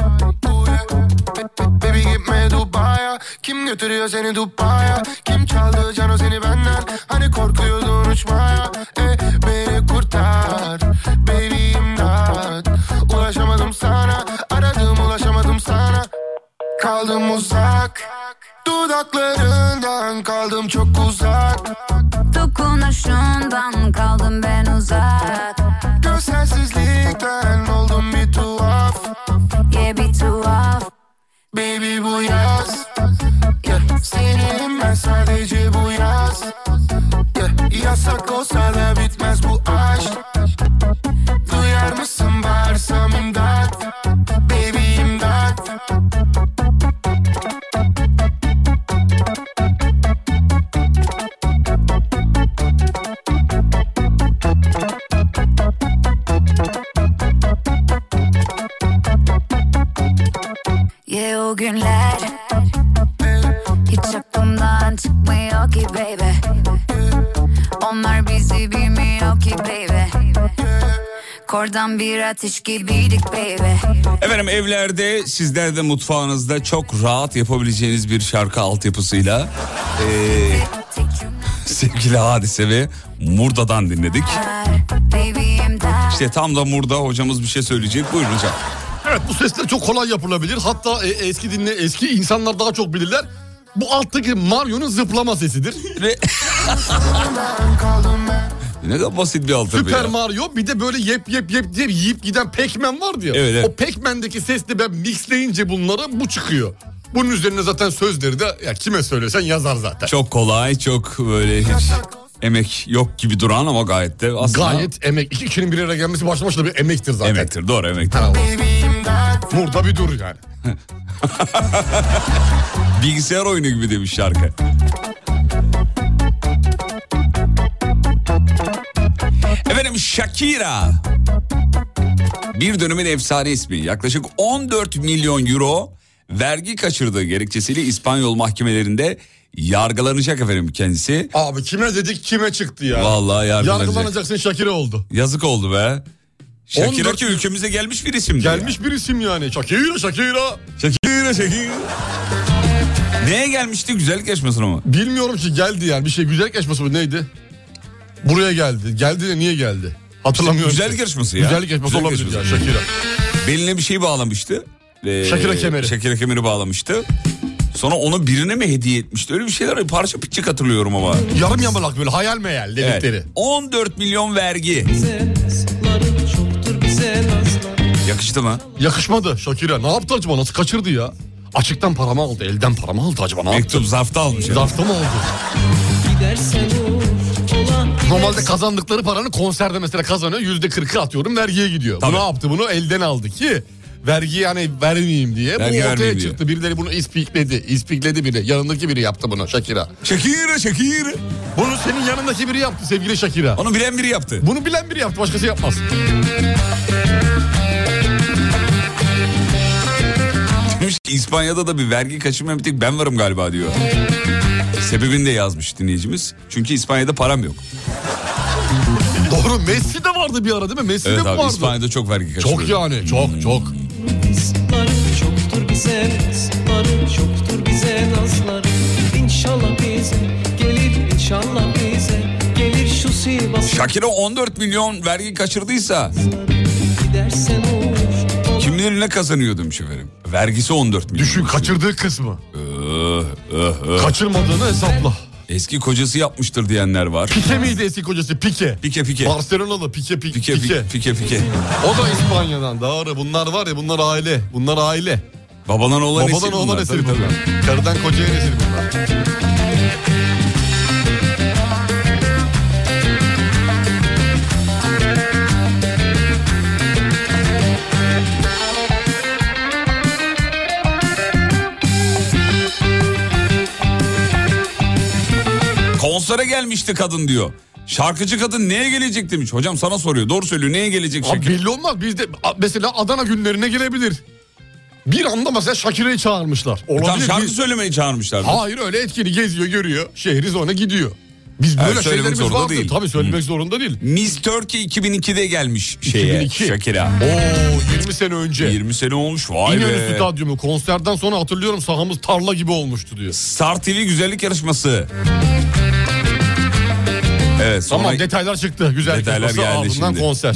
Oh yeah. Be- be- Baby gitme Dubai'ye Kim götürüyor seni Dubai'ye Kim çaldı cano seni benden Hani korkuyordun uçmaya eh, Beni kurtar Baby imdat Ulaşamadım sana Aradım ulaşamadım sana Kaldım uzak Dudaklarından kaldım çok uzak Dokunuşundan kaldım ben uzak Gözsensizlikten oldum bir tuhaf Ye bir tuhaf Baby bu yaz yeah. Seninim ben sadece bu yaz yeah. Yasak olsa da bitmez bu aşk Duyar mısın bağırsam imdat Baby imdat Ye o günler Hiç aklımdan çıkmıyor ki baby Onlar bizi bilmiyor ki baby Kordan bir ateş gibiydik baby Efendim evlerde sizler de mutfağınızda çok rahat yapabileceğiniz bir şarkı altyapısıyla eee, Tek cümle sevgili Hadise ve Murda'dan dinledik. Baby'im der İşte tam da Murda hocamız bir şey söyleyecek. Buyurun hocam. Evet bu sesler çok kolay yapılabilir. Hatta e, eski dinle eski insanlar daha çok bilirler. Bu alttaki Mario'nun zıplama sesidir. Ve- [laughs] ne kadar basit bir altyapı Süper ya. Mario bir de böyle yep yep yep diye yiyip giden Pac-Man vardı ya. Evet, evet. O Pac-Man'deki sesle ben mixleyince bunları bu çıkıyor. Bunun üzerine zaten sözleri de ya kime söylesen yazar zaten. Çok kolay, çok böyle hiç emek yok gibi duran ama gayet de aslında Gayet emek. iki kişinin bir araya gelmesi başlı başına bir emektir zaten. emektir. Doğru emektir. Burada bir dur yani. Bilgisayar oyunu gibi demiş şarkı. Efendim Shakira. Bir dönemin efsane ismi. Yaklaşık 14 milyon euro vergi kaçırdığı gerekçesiyle İspanyol mahkemelerinde yargılanacak efendim kendisi. Abi kime dedik kime çıktı ya. Vallahi yargılanacak. Yargılanacaksın Şakir'e oldu. Yazık oldu be. Shakira 14 ki ülkemize gelmiş bir isimdi. Gelmiş bir isim yani. Şakira Şakira. Shakira Shakira. Neye gelmişti güzellik yarışmasına mı? Bilmiyorum ki geldi yani. Bir şey güzel geçmesi bu neydi? Buraya geldi. Geldi de niye geldi? Hatırlamıyorum. Güzellik ki. yarışması ya. Güzellik geçmesi Güzellik olabilir ya yarışması. Şakira. Beline bir şey bağlamıştı. Ee, Shakira kemeri. Shakira kemeri bağlamıştı. Sonra onu birine mi hediye etmişti? Öyle bir şeyler parça piçik hatırlıyorum ama. Yarım yamalak böyle hayal meyal Evet. dedikleri. 14 milyon vergi. Yakıştı mı? Yakışmadı Şakira. Ne yaptı acaba? Nasıl kaçırdı ya? Açıktan paramı aldı. Elden paramı aldı acaba? Ne yaptı? Mektup zarfta almış. ya. Zarfta mı aldı? Normalde kazandıkları paranın konserde mesela kazanıyor. Yüzde kırkı atıyorum vergiye gidiyor. Tabii. Bu ne yaptı? Bunu elden aldı ki vergiyi yani vermeyeyim diye. Vergi bu ortaya vermeyeyim diye. çıktı. Birileri bunu ispikledi. İspikledi biri. Yanındaki biri yaptı bunu Şakira. Shakira Shakira. Bunu senin yanındaki biri yaptı sevgili Şakira. Onu bilen [laughs] biri yaptı. Bunu bilen biri yaptı başkası yapmaz. Demiş ki İspanya'da da bir vergi kaçırmaya bir tek ben varım galiba diyor. Sebebini de yazmış dinleyicimiz. Çünkü İspanya'da param yok. Doğru Messi de vardı bir ara değil mi? Messi Evet de abi vardı. İspanya'da çok vergi kaçırıyor. Çok yani çok çok. bize nazları Çoktur bize nazları İnşallah bize gelir inşallah bize Gelir şu Sivas'a Şakir'e 14 milyon vergi kaçırdıysa gidersen olur kim bilir ne kazanıyordum şoförüm. Vergisi 14 milyon. Düşün kaçırdığı kısmı. Ah, ah, ah. Kaçırmadığını hesapla. Eski kocası yapmıştır diyenler var. Pike miydi eski kocası? Pike. Pike pike. Barcelona'da Pike Pike. Pike Pike. pike pike pike. O da İspanya'dan. Doğru. Bunlar var ya bunlar aile. Bunlar aile. Babadan oğlan esir Babadan oğlan bunlar, eseri tabii, bunlar. tabii. Karıdan kocaya eseri bunlar. Konsere gelmişti kadın diyor. Şarkıcı kadın neye gelecek demiş. Hocam sana soruyor. Doğru söylüyor. Neye gelecek Abi Şakir? belli olmaz. Biz de a- mesela Adana günlerine gelebilir. Bir anda mesela Şakire'yi çağırmışlar. Tam Olabilir. şarkı Biz- söylemeyi çağırmışlar. Hayır öyle etkili geziyor görüyor. Şehri sonra gidiyor. Biz Ha, böyle söylemek şeylerimiz zorunda vardı. değil. Tabii söylemek zorunda değil. Miss Turkey 2002'de gelmiş şeye 2002. Şakir'e. Oo 20 sene önce. 20 sene olmuş vay İnönü be. Stadyumu konserden sonra hatırlıyorum sahamız tarla gibi olmuştu diyor. Star TV güzellik yarışması. Evet sonra Tamam detaylar çıktı. Güzel Detaylar kızması, geldi ardından şimdi. konser.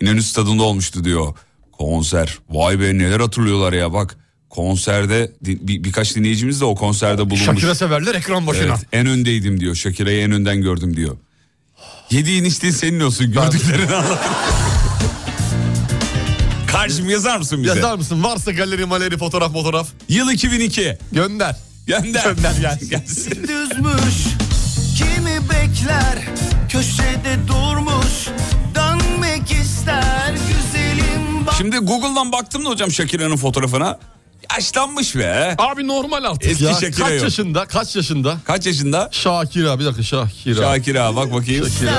İnönü Stadı'nda olmuştu diyor. Konser. Vay be neler hatırlıyorlar ya bak. Konserde di- bir, birkaç dinleyicimiz de o konserde bulunmuş. Şakir'e severler ekran başına. Evet, en öndeydim diyor. Şakire'yi en önden gördüm diyor. Yediğin içtiğin senin olsun. Gördüklerini anlat. Karşım yazar mısın bize? Yazar mısın? Varsa galeri maleri fotoğraf fotoğraf Yıl 2002. gönder. Gönder. Gönder gelsin. Gelsin. düzmüş Kimi bekler köşede durmuş Dönmek ister güzelim bak Şimdi Google'dan baktım da hocam Şakire'nin fotoğrafına. Yaşlanmış be. Abi normal artık Eski ya. Şakir'e kaç yok. yaşında? Kaç yaşında? Kaç yaşında? Şakir abi bir dakika Şakir abi. Şakire abi, bak bakayım. Şakir abi.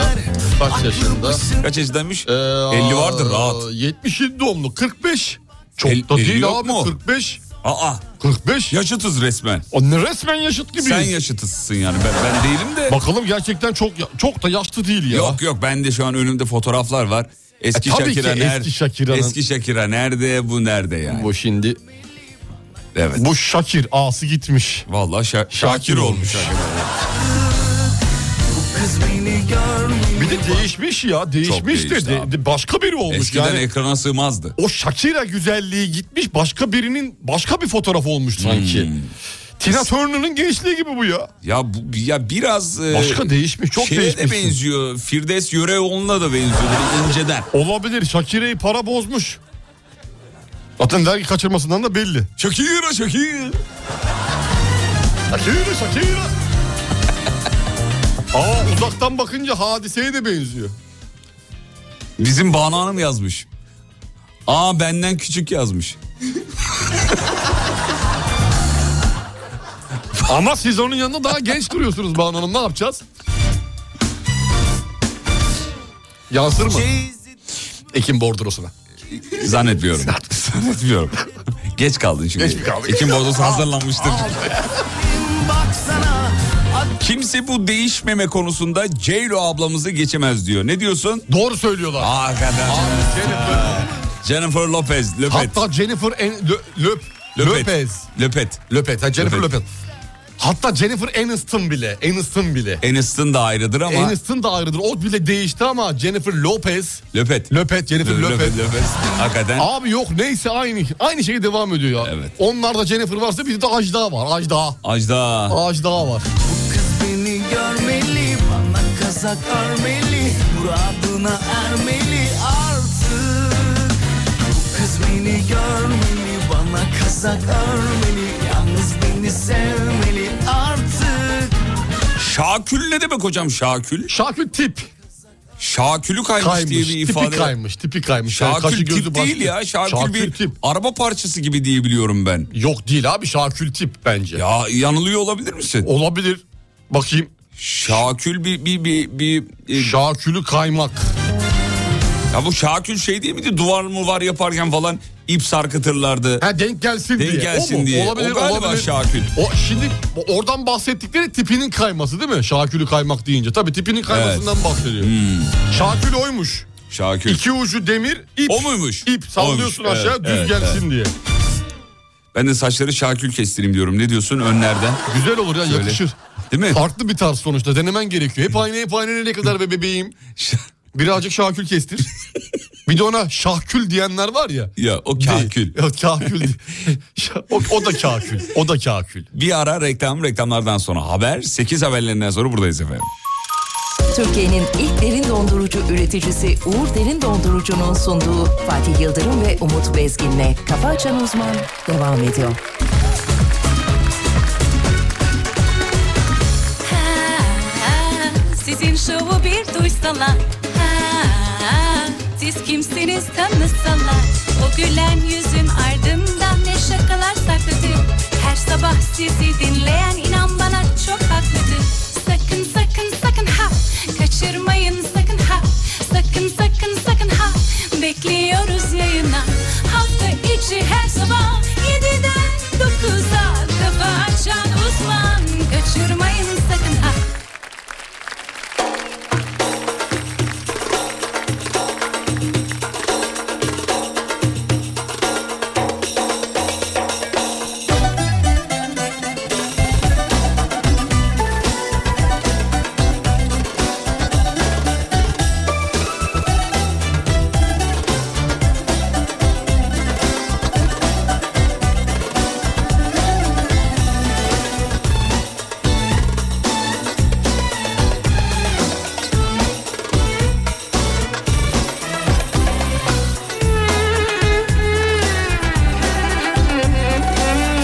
Kaç yaşında? Kaç yaşındaymış? Ee, 50 vardır rahat. 77 doğumlu 45. Çok El- da 50 değil yok abi mu? 45. Aa 45. yaşıtız resmen. O ne resmen yaşıt gibiyiz. Sen yaşıtısın yani ben, ben değilim de. Bakalım gerçekten çok ya- çok da yaşlı değil ya. Yok yok ben de şu an önümde fotoğraflar var. Eski E, tabii Şakira ki nerede? eski Shakira'nın- Eski Shakira nerede? Bu nerede yani? Bu şimdi evet. bu Şakir ağası gitmiş. Vallahi Şa- Şakir olmuş. Kız beni görmüyor Bir de değişmiş ya değişmiş de, değişti de- abi. de başka biri olmuş Eskiden yani. ekrana sığmazdı. o Shakira güzelliği gitmiş başka birinin başka bir fotoğrafı olmuş Hmm. sanki. Tina Turner'ın gençliği gibi bu ya. Ya bu, ya biraz e, Başka değişmiş çok şeye de değişmiş. benziyor. Firdevs Yüreğoğlu'na da benziyor. Böyle inceden. Olabilir Shakira'yı para bozmuş. Zaten dergi kaçırmasından da belli. Şakira Şakira. Shakira [laughs] Shakira. Aa uzaktan bakınca hadiseye de benziyor. Bizim Banu Hanım yazmış. Aa benden küçük yazmış. Ama siz onun yanında daha genç duruyorsunuz Banu Hanım ne yapacağız? Yansır mı? Ekim bordrosuna. [laughs] Zannetmiyorum. Zannetmiyorum. Geç kaldın çünkü. Geç mi kaldık? Ekim bordrosu hazırlanmıştır. baksana Kimse bu değişmeme konusunda Ceylo ablamızı geçemez diyor. Ne diyorsun? Doğru söylüyorlar. Aa kadar. Jennifer Lopez. Löpet. Hatta Jennifer en, Lö- Löp, Löpet. Lopez. Löpet. Löpet. Ha, Jennifer Löpet. Lopez. Hatta Jennifer Aniston bile. Aniston bile. Aniston da ayrıdır E, ama. Aniston da ayrıdır. O bile değişti ama Jennifer Lopez. Löpet. Löpet. Jennifer Lö- Lopez. Hakikaten. Abi yok neyse aynı aynı şey devam ediyor ya. Evet. Onlarda Jennifer varsa bizde Ajda var. Ajda. Ajda. Ajda var. Kız beni görmeli Bana kazak örmeli Muradına ermeli artık Bu kız beni görmeli Bana kazak örmeli Yalnız beni sevmeli artık Şakül ne demek hocam Şakül? Şakül tip Şakülü kaymış, kaymış. diye bir ifade. Tipi kaymış. Tipi kaymış. Yani Şakül kaşı gözü tip başlı. değil ya. Şakül, bir tip. araba parçası gibi diye biliyorum ben. Yok değil abi Şakül tip bence. Ya yanılıyor olabilir misin? Olabilir. Bakayım. Şakül bir bir bir, bir e, Şakülü kaymak. ya bu Şakül şey değil miydi? Duvar mı var yaparken falan ip sarkıtırlardı. Ha denk gelsin Denk diye. gelsin o mu? diye. Olabilir, O galiba olabilir. Şakül. O şimdi o- oradan bahsettikleri tipinin kayması değil mi? Şakülü kaymak deyince. Tabii tipinin kaymasından bahsediyor. Şakül oymuş. Şakül. İki ucu demir, ip. Hmm. O muymuş? İp sallıyorsun Oymuş, aşağı evet, düz evet, gelsin diye. Ben de saçları Şakül kestireyim diyorum. Ne diyorsun [laughs] önlerden? Güzel olur ya Şöyle. yakışır. Değil mi? Farklı bir tarz sonuçta denemen gerekiyor. Hep aynı hep aynı ne kadar [laughs] be bebeğim. Birazcık şakül kestir. Bir de ona şahkül diyenler [laughs] var ya. Ya o Kakül. Değil. [laughs] Yok [laughs] kahkül. değil. Şa- o, o da kahkül. O da kahkül. Bir ara reklam reklamlardan sonra haber 8 haberlerinden sonra buradayız efendim. Türkiye'nin ilk derin dondurucu üreticisi Uğur Derin Dondurucu'nun sunduğu Fatih Yıldırım ve Umut Bezgin'le Kafa Açan Uzman devam ediyor. Ha, Sizin şovu bir duysalar Ha, Siz kimsiniz tanısalar O gülen yüzün ardından ne şakalar saklıdır Her sabah sizi dinleyen inan bana çok haklıdır Sakın sakın sakın ha Kaçırmayın sakın ha Sakın sakın sakın ha Bekliyoruz yayına Hafta içi her sabah 7'den 9'a Kafa açan uzman Kaçırmayın sakın ah. ha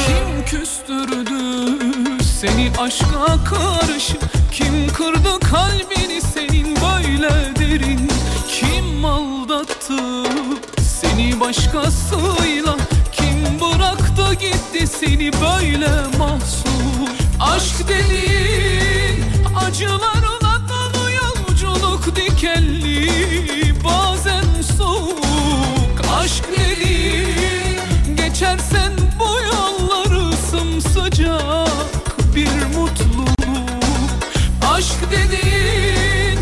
Kim küstürdü seni aşka karşı Kim kırdı kalbini senin böyle derin Kim aldattı seni başkasıyla Kim bıraktı gitti seni böyle mahsur Aşk dediğin acılarla dolu yolculuk dikenli Bazen soğuk aşk dediğin Geçersen bu yolları sımsıcak bir mutluluk Aşk dediğin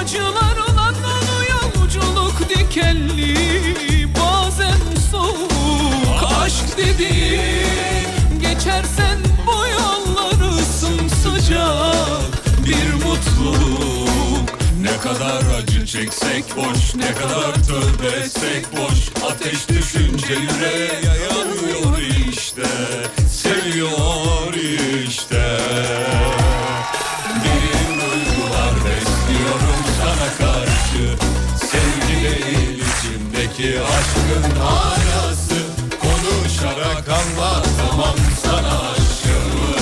acılarla dolu yolculuk dikenli Bazen soğuk aşk dediğin Geçersen bu yolları sımsıcak bir mutluluk Ne kadar acı çeksek boş, ne kadar tövbe etsek boş. Ateş düşünce yüreğe yanıyor işte, seviyor işte. Derin duygular besliyorum sana karşı, sevgiyle içimdeki aşkın arası. Konuşarak anlatamam sana aşkımı,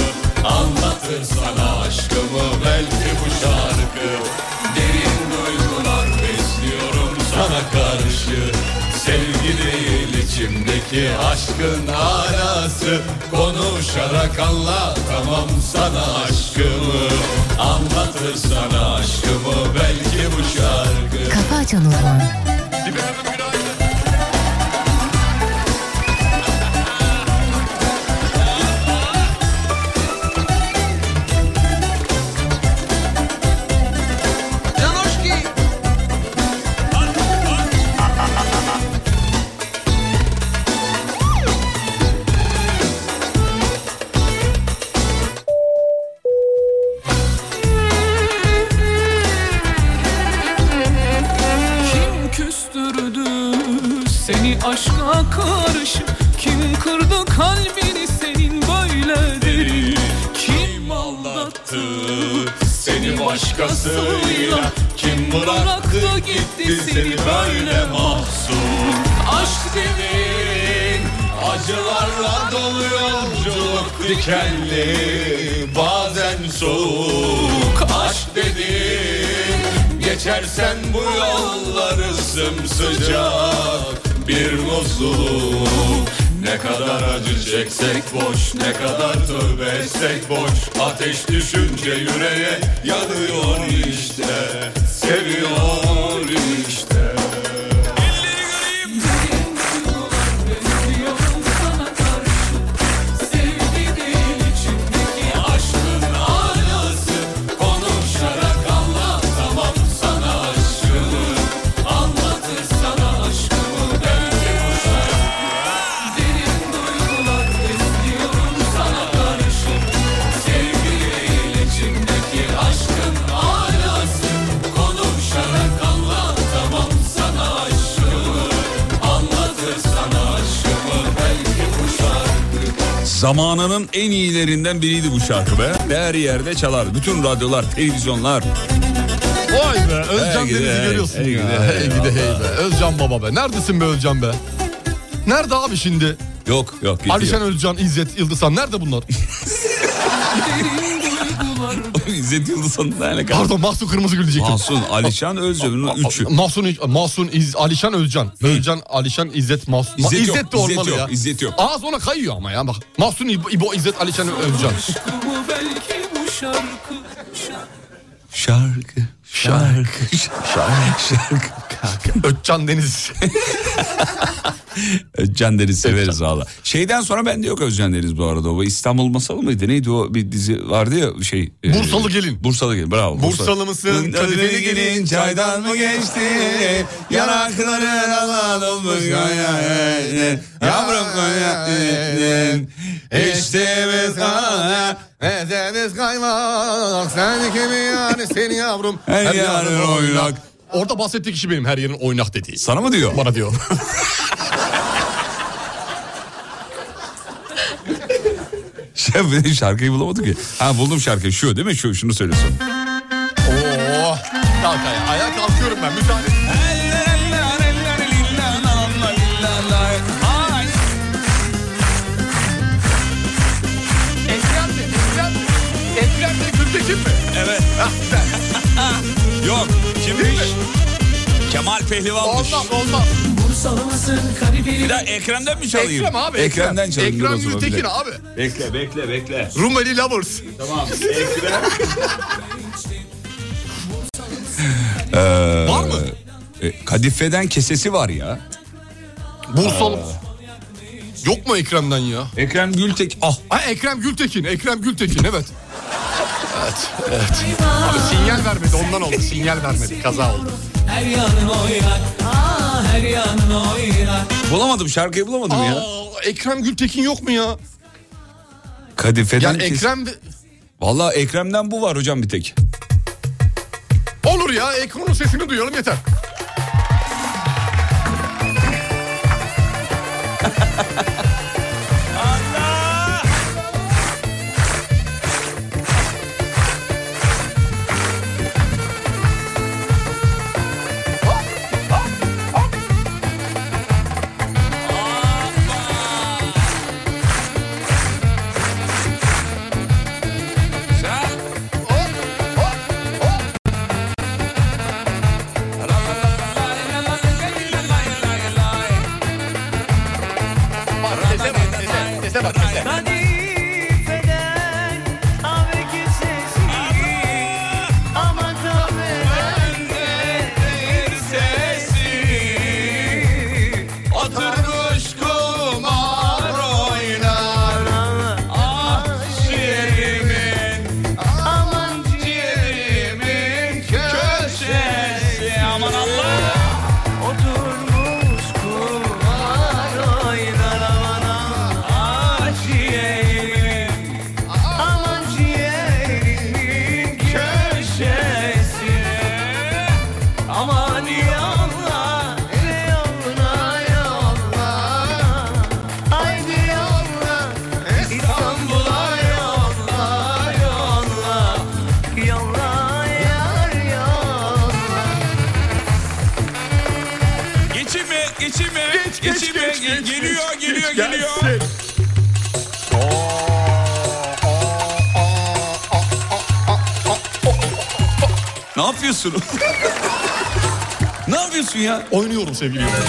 anlatır sana aşkımı belki bu şarkı. Derin duygular besliyorum sana karşı Sevgi değil içimdeki aşkın arası Konuşarak anlatamam sana aşkımı Anlatır sana aşkımı belki bu şarkı Kafa Açan Uzman. Kim küstürdü seni aşka karşı Kim kırdı kalbini senin böyle derin Kim aldattı Seni başkasıyla kim bıraktı gitti seni böyle mahzun Aşk dedin Acılarla dolu yolculuk dikenli Bazen soğuk aşk dedin Geçersen bu yolları sımsıcak Bir mutluluk Ne kadar acı çeksek boş Ne kadar tövbe etsek boş Ateş düşünce yüreğe yanıyor işte Seviyor işte Zamanının en iyilerinden biriydi bu şarkı be. Her yerde çalar. Bütün radyolar, televizyonlar. Vay be Özcan Hey gidi, Deniz'i hey, görüyorsun hey ya. gidi, Hey hey, gidi hey vallahi. be. Özcan baba be. Neredesin be Özcan be? Nerede abi şimdi? Yok yok. gidiyor. [laughs] Alişan Özcan, İzzet, Yıldızhan nerede bunlar? İzzet Yıldız'ın ne alakası? Pardon Mahsun Kırmızı Gül diyecektim. Mahsun, Alişan, Özcan'ın üçü. Mahsun, Mahsun İz, Alişan Özcan. Özcan, Alişan, İzzet, Mahsun. Ma- İzzet yok, İzzet de İzzet olmalı yok, ya. İzzet yok. Ağız ona kayıyor ama ya bak. Mahsun, İbo, İbo, İzzet, Alişan, [laughs] Özcan. Aşkımı belki bu şarkı Şarkı, şarkı, şarkı, şarkı. Özcan [laughs] Deniz. Özcan Deniz severiz valla. Şeyden sonra bende yok Özcan Deniz bu arada. O İstanbul Masalı mıydı? Neydi o bir dizi vardı ya şey. e, Bursalı Gelin. Bursalı Gelin bravo. Bursalı mısın? Kadifeli gelin, çaydan mı geçti? Yanakların alan olmuş. Yavrum, İşte biz Ne deniz kaymak, sen kimi yani seni yavrum. Her yarın oynak. Orada bahsettiği kişi benim her yerin oynak dediği. Sana mı diyor? Bana diyor. Şef, şarkıyı bulamadık ya. Ha buldum şarkıyı. Şu değil mi? Şu, şunu söylüyorsun. Oo. Kalk ayağa. Ayağa kalkıyorum ben. Müsaade. Ekrem mi? Ekrem mi? Ekrem mi? Gültekin mi? Evet. [laughs] Yok. Kimmiş? Kemal Pehlivan'mış. Olmaz olmaz. Bursalımızın kalbi Bir daha Ekrem'den mi çalayım? Ekrem abi. Ekrem'den çalayım. dur o Ekrem zaman bir Gültekin dakika. abi. Bekle bekle bekle. Rumeli Lovers. [laughs] Tamam. Ekrem. Ee, Var mı? E, Kadife'den kesesi var ya. ee. Bursalı. Yok mu Ekrem'den ya? Ekrem Gültek. Ah. Ha Ekrem Gültekin. Ekrem Gültekin evet. Evet, evet. Abi sinyal vermedi ondan oldu. Sinyal vermedi. Kaza oldu. her yanın oynar Aa, her yanın oynar Bulamadım şarkıyı bulamadım Aa, ya. Ekrem Gültekin yok mu ya? Kadife'den Yani yani kes... Ekrem de... Valla Ekrem'den bu var hocam bir tek. Olur ya Ekrem'in sesini duyalım yeter. Kadifeden avki sesi Ama tabi bende bir sesi Oturmuş kumar oynar Ah ciğerimin Aman ciğerimin köşesi Aman Allah Oturmuş kumar oynar aman aman Ah ciğerim Aman ciğerimin köşesi Aman yallah Yallah yallah Haydi yallah İstanbul'a yallah yallah Yallah yar yallah Geçin mi? Geçin mi? Geç, geç, Geçin geç, mi? geç, geliyor, geç, geliyor, geç, geliyor. gelsin. Ne yapıyorsun? ne yapıyorsun ya? Oynuyorum sevgili yıldızım.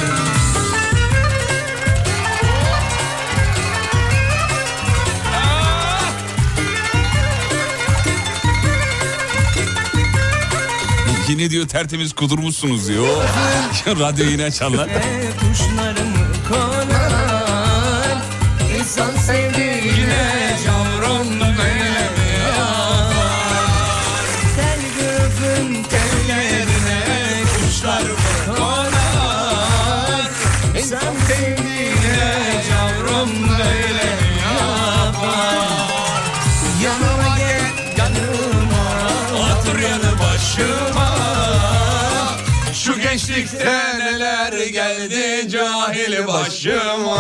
Yine diyor tertemiz kudurmuşsunuz diyor. [laughs] Radyo yine açarlar. Kuşlarımı konar İnsan sevdiğine Yavrum böyle mi ağlar? Tel grubun tellerine Kuşlarımı konar İnsan sevdiğine Yavrum böyle mi ağlar? Yanıma gel yanıma Otur yanı başıma Şu gençlikte neler geldi cahil başıma.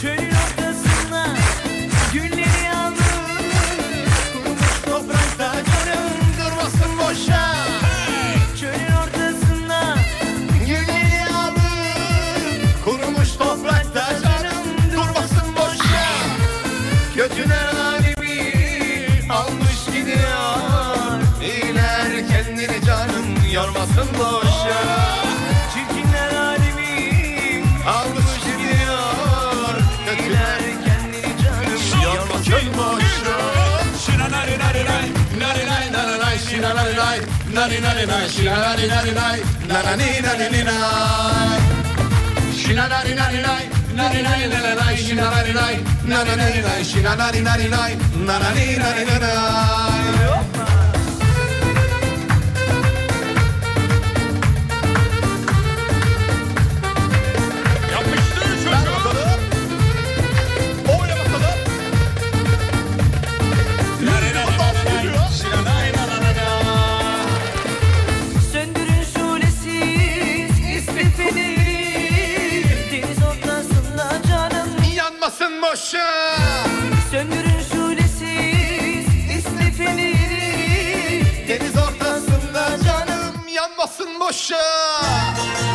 Çölün ortasında günleri yalnız Kurumuş toprakta canım durmasın boşa Çölün ortasında günleri yalnız Kurumuş toprakta canım durmasın boşa Kötüler alemi almış gidiyor İyiler kendini canım yormasın boşa Çirkinler alemi almış gidiyor Kötüler kendini canım yormasın boşa Yapıştır çocuğum. Söndürün şulesiz nispetini Deniz ortasında canım yanmasın boşa Söndürün şulesiz nispetini Deniz ortasında canım yanmasın boşa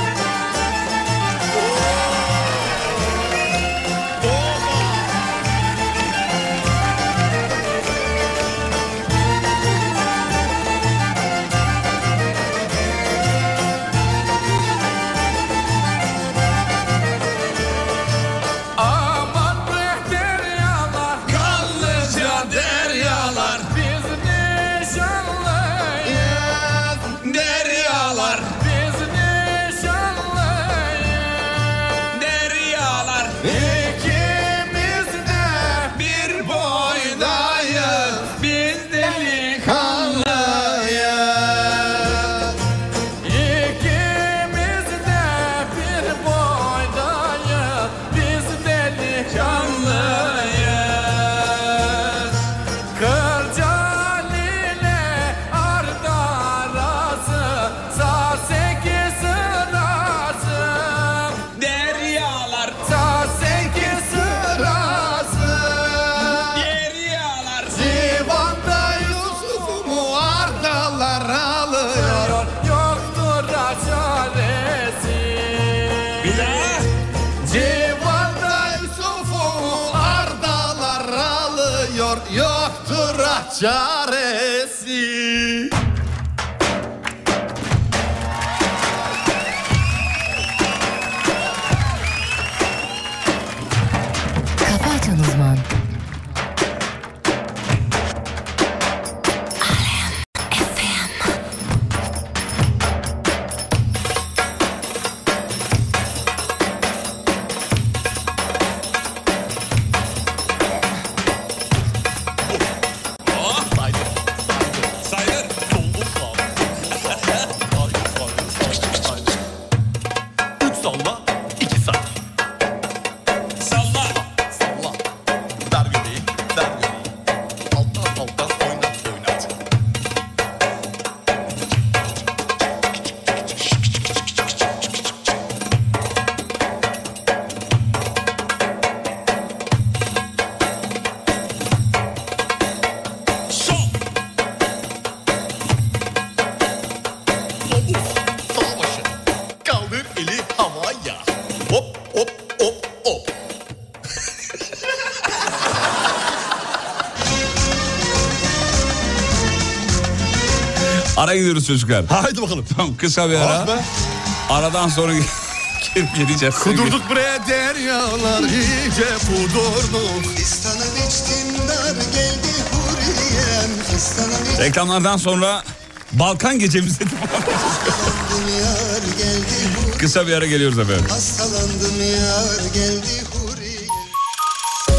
Aman be deryalar Kanlıca deryalar Biz nişanlıyız Deryalar Biz nişanlıyız Deryalar İkimiz de bir boydayız Biz delikanlıyız İkimiz de bir boydayız Biz delikanlıyız Kırcan ile Arda arası Sağ sekiz sırası Deryalar Sağ sekiz sırası Deryalar Divan'da Yusuf'umu Ardalar alıyor Yoktur çaresi Bir daha. Civanda Yusuf'u ardalar alıyor Yoktur ah çaresi Kafa Açan Uzman. Sayılır. Üç salla, iki salla Salla. Salla Dar göbeği, dar göbeği Alttan alttan oynat oynat Sol. Davul sağ başı Kaldır eli havaya Hop hop hop hop Ara gidiyoruz çocuklar. Haydi bakalım. Tamam kısa bir ara. Ah be. Aradan sonra [laughs] geri geleceğiz. Kudurduk bre deryalar iyice kudurduk. Fistanım içtim dar geldi huriyem Fistanım içtim Reklamlardan sonra Balkan gecemize devam edeceğiz. yar geldi huriyem Kısa bir ara geliyoruz efendim. Hastalandım yar geldi huriyem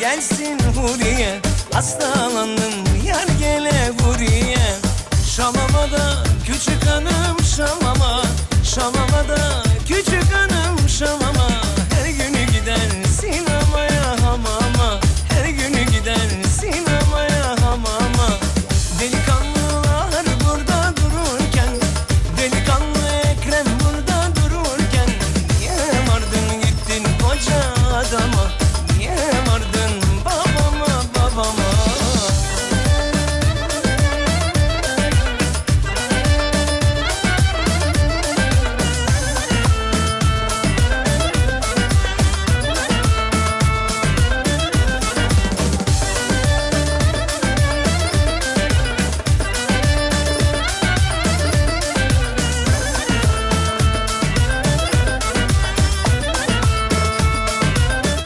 gelsin huriye Hastalandım yar gele huriye Şalamada küçük hanım şalama Şalamada küçük hanım şalama Her günü gider sinemaya hamama Her günü gider sinemaya hamama Delikanlılar burada dururken Delikanlı Ekrem burada dururken Niye vardın gittin koca adama Niye vardın babama babama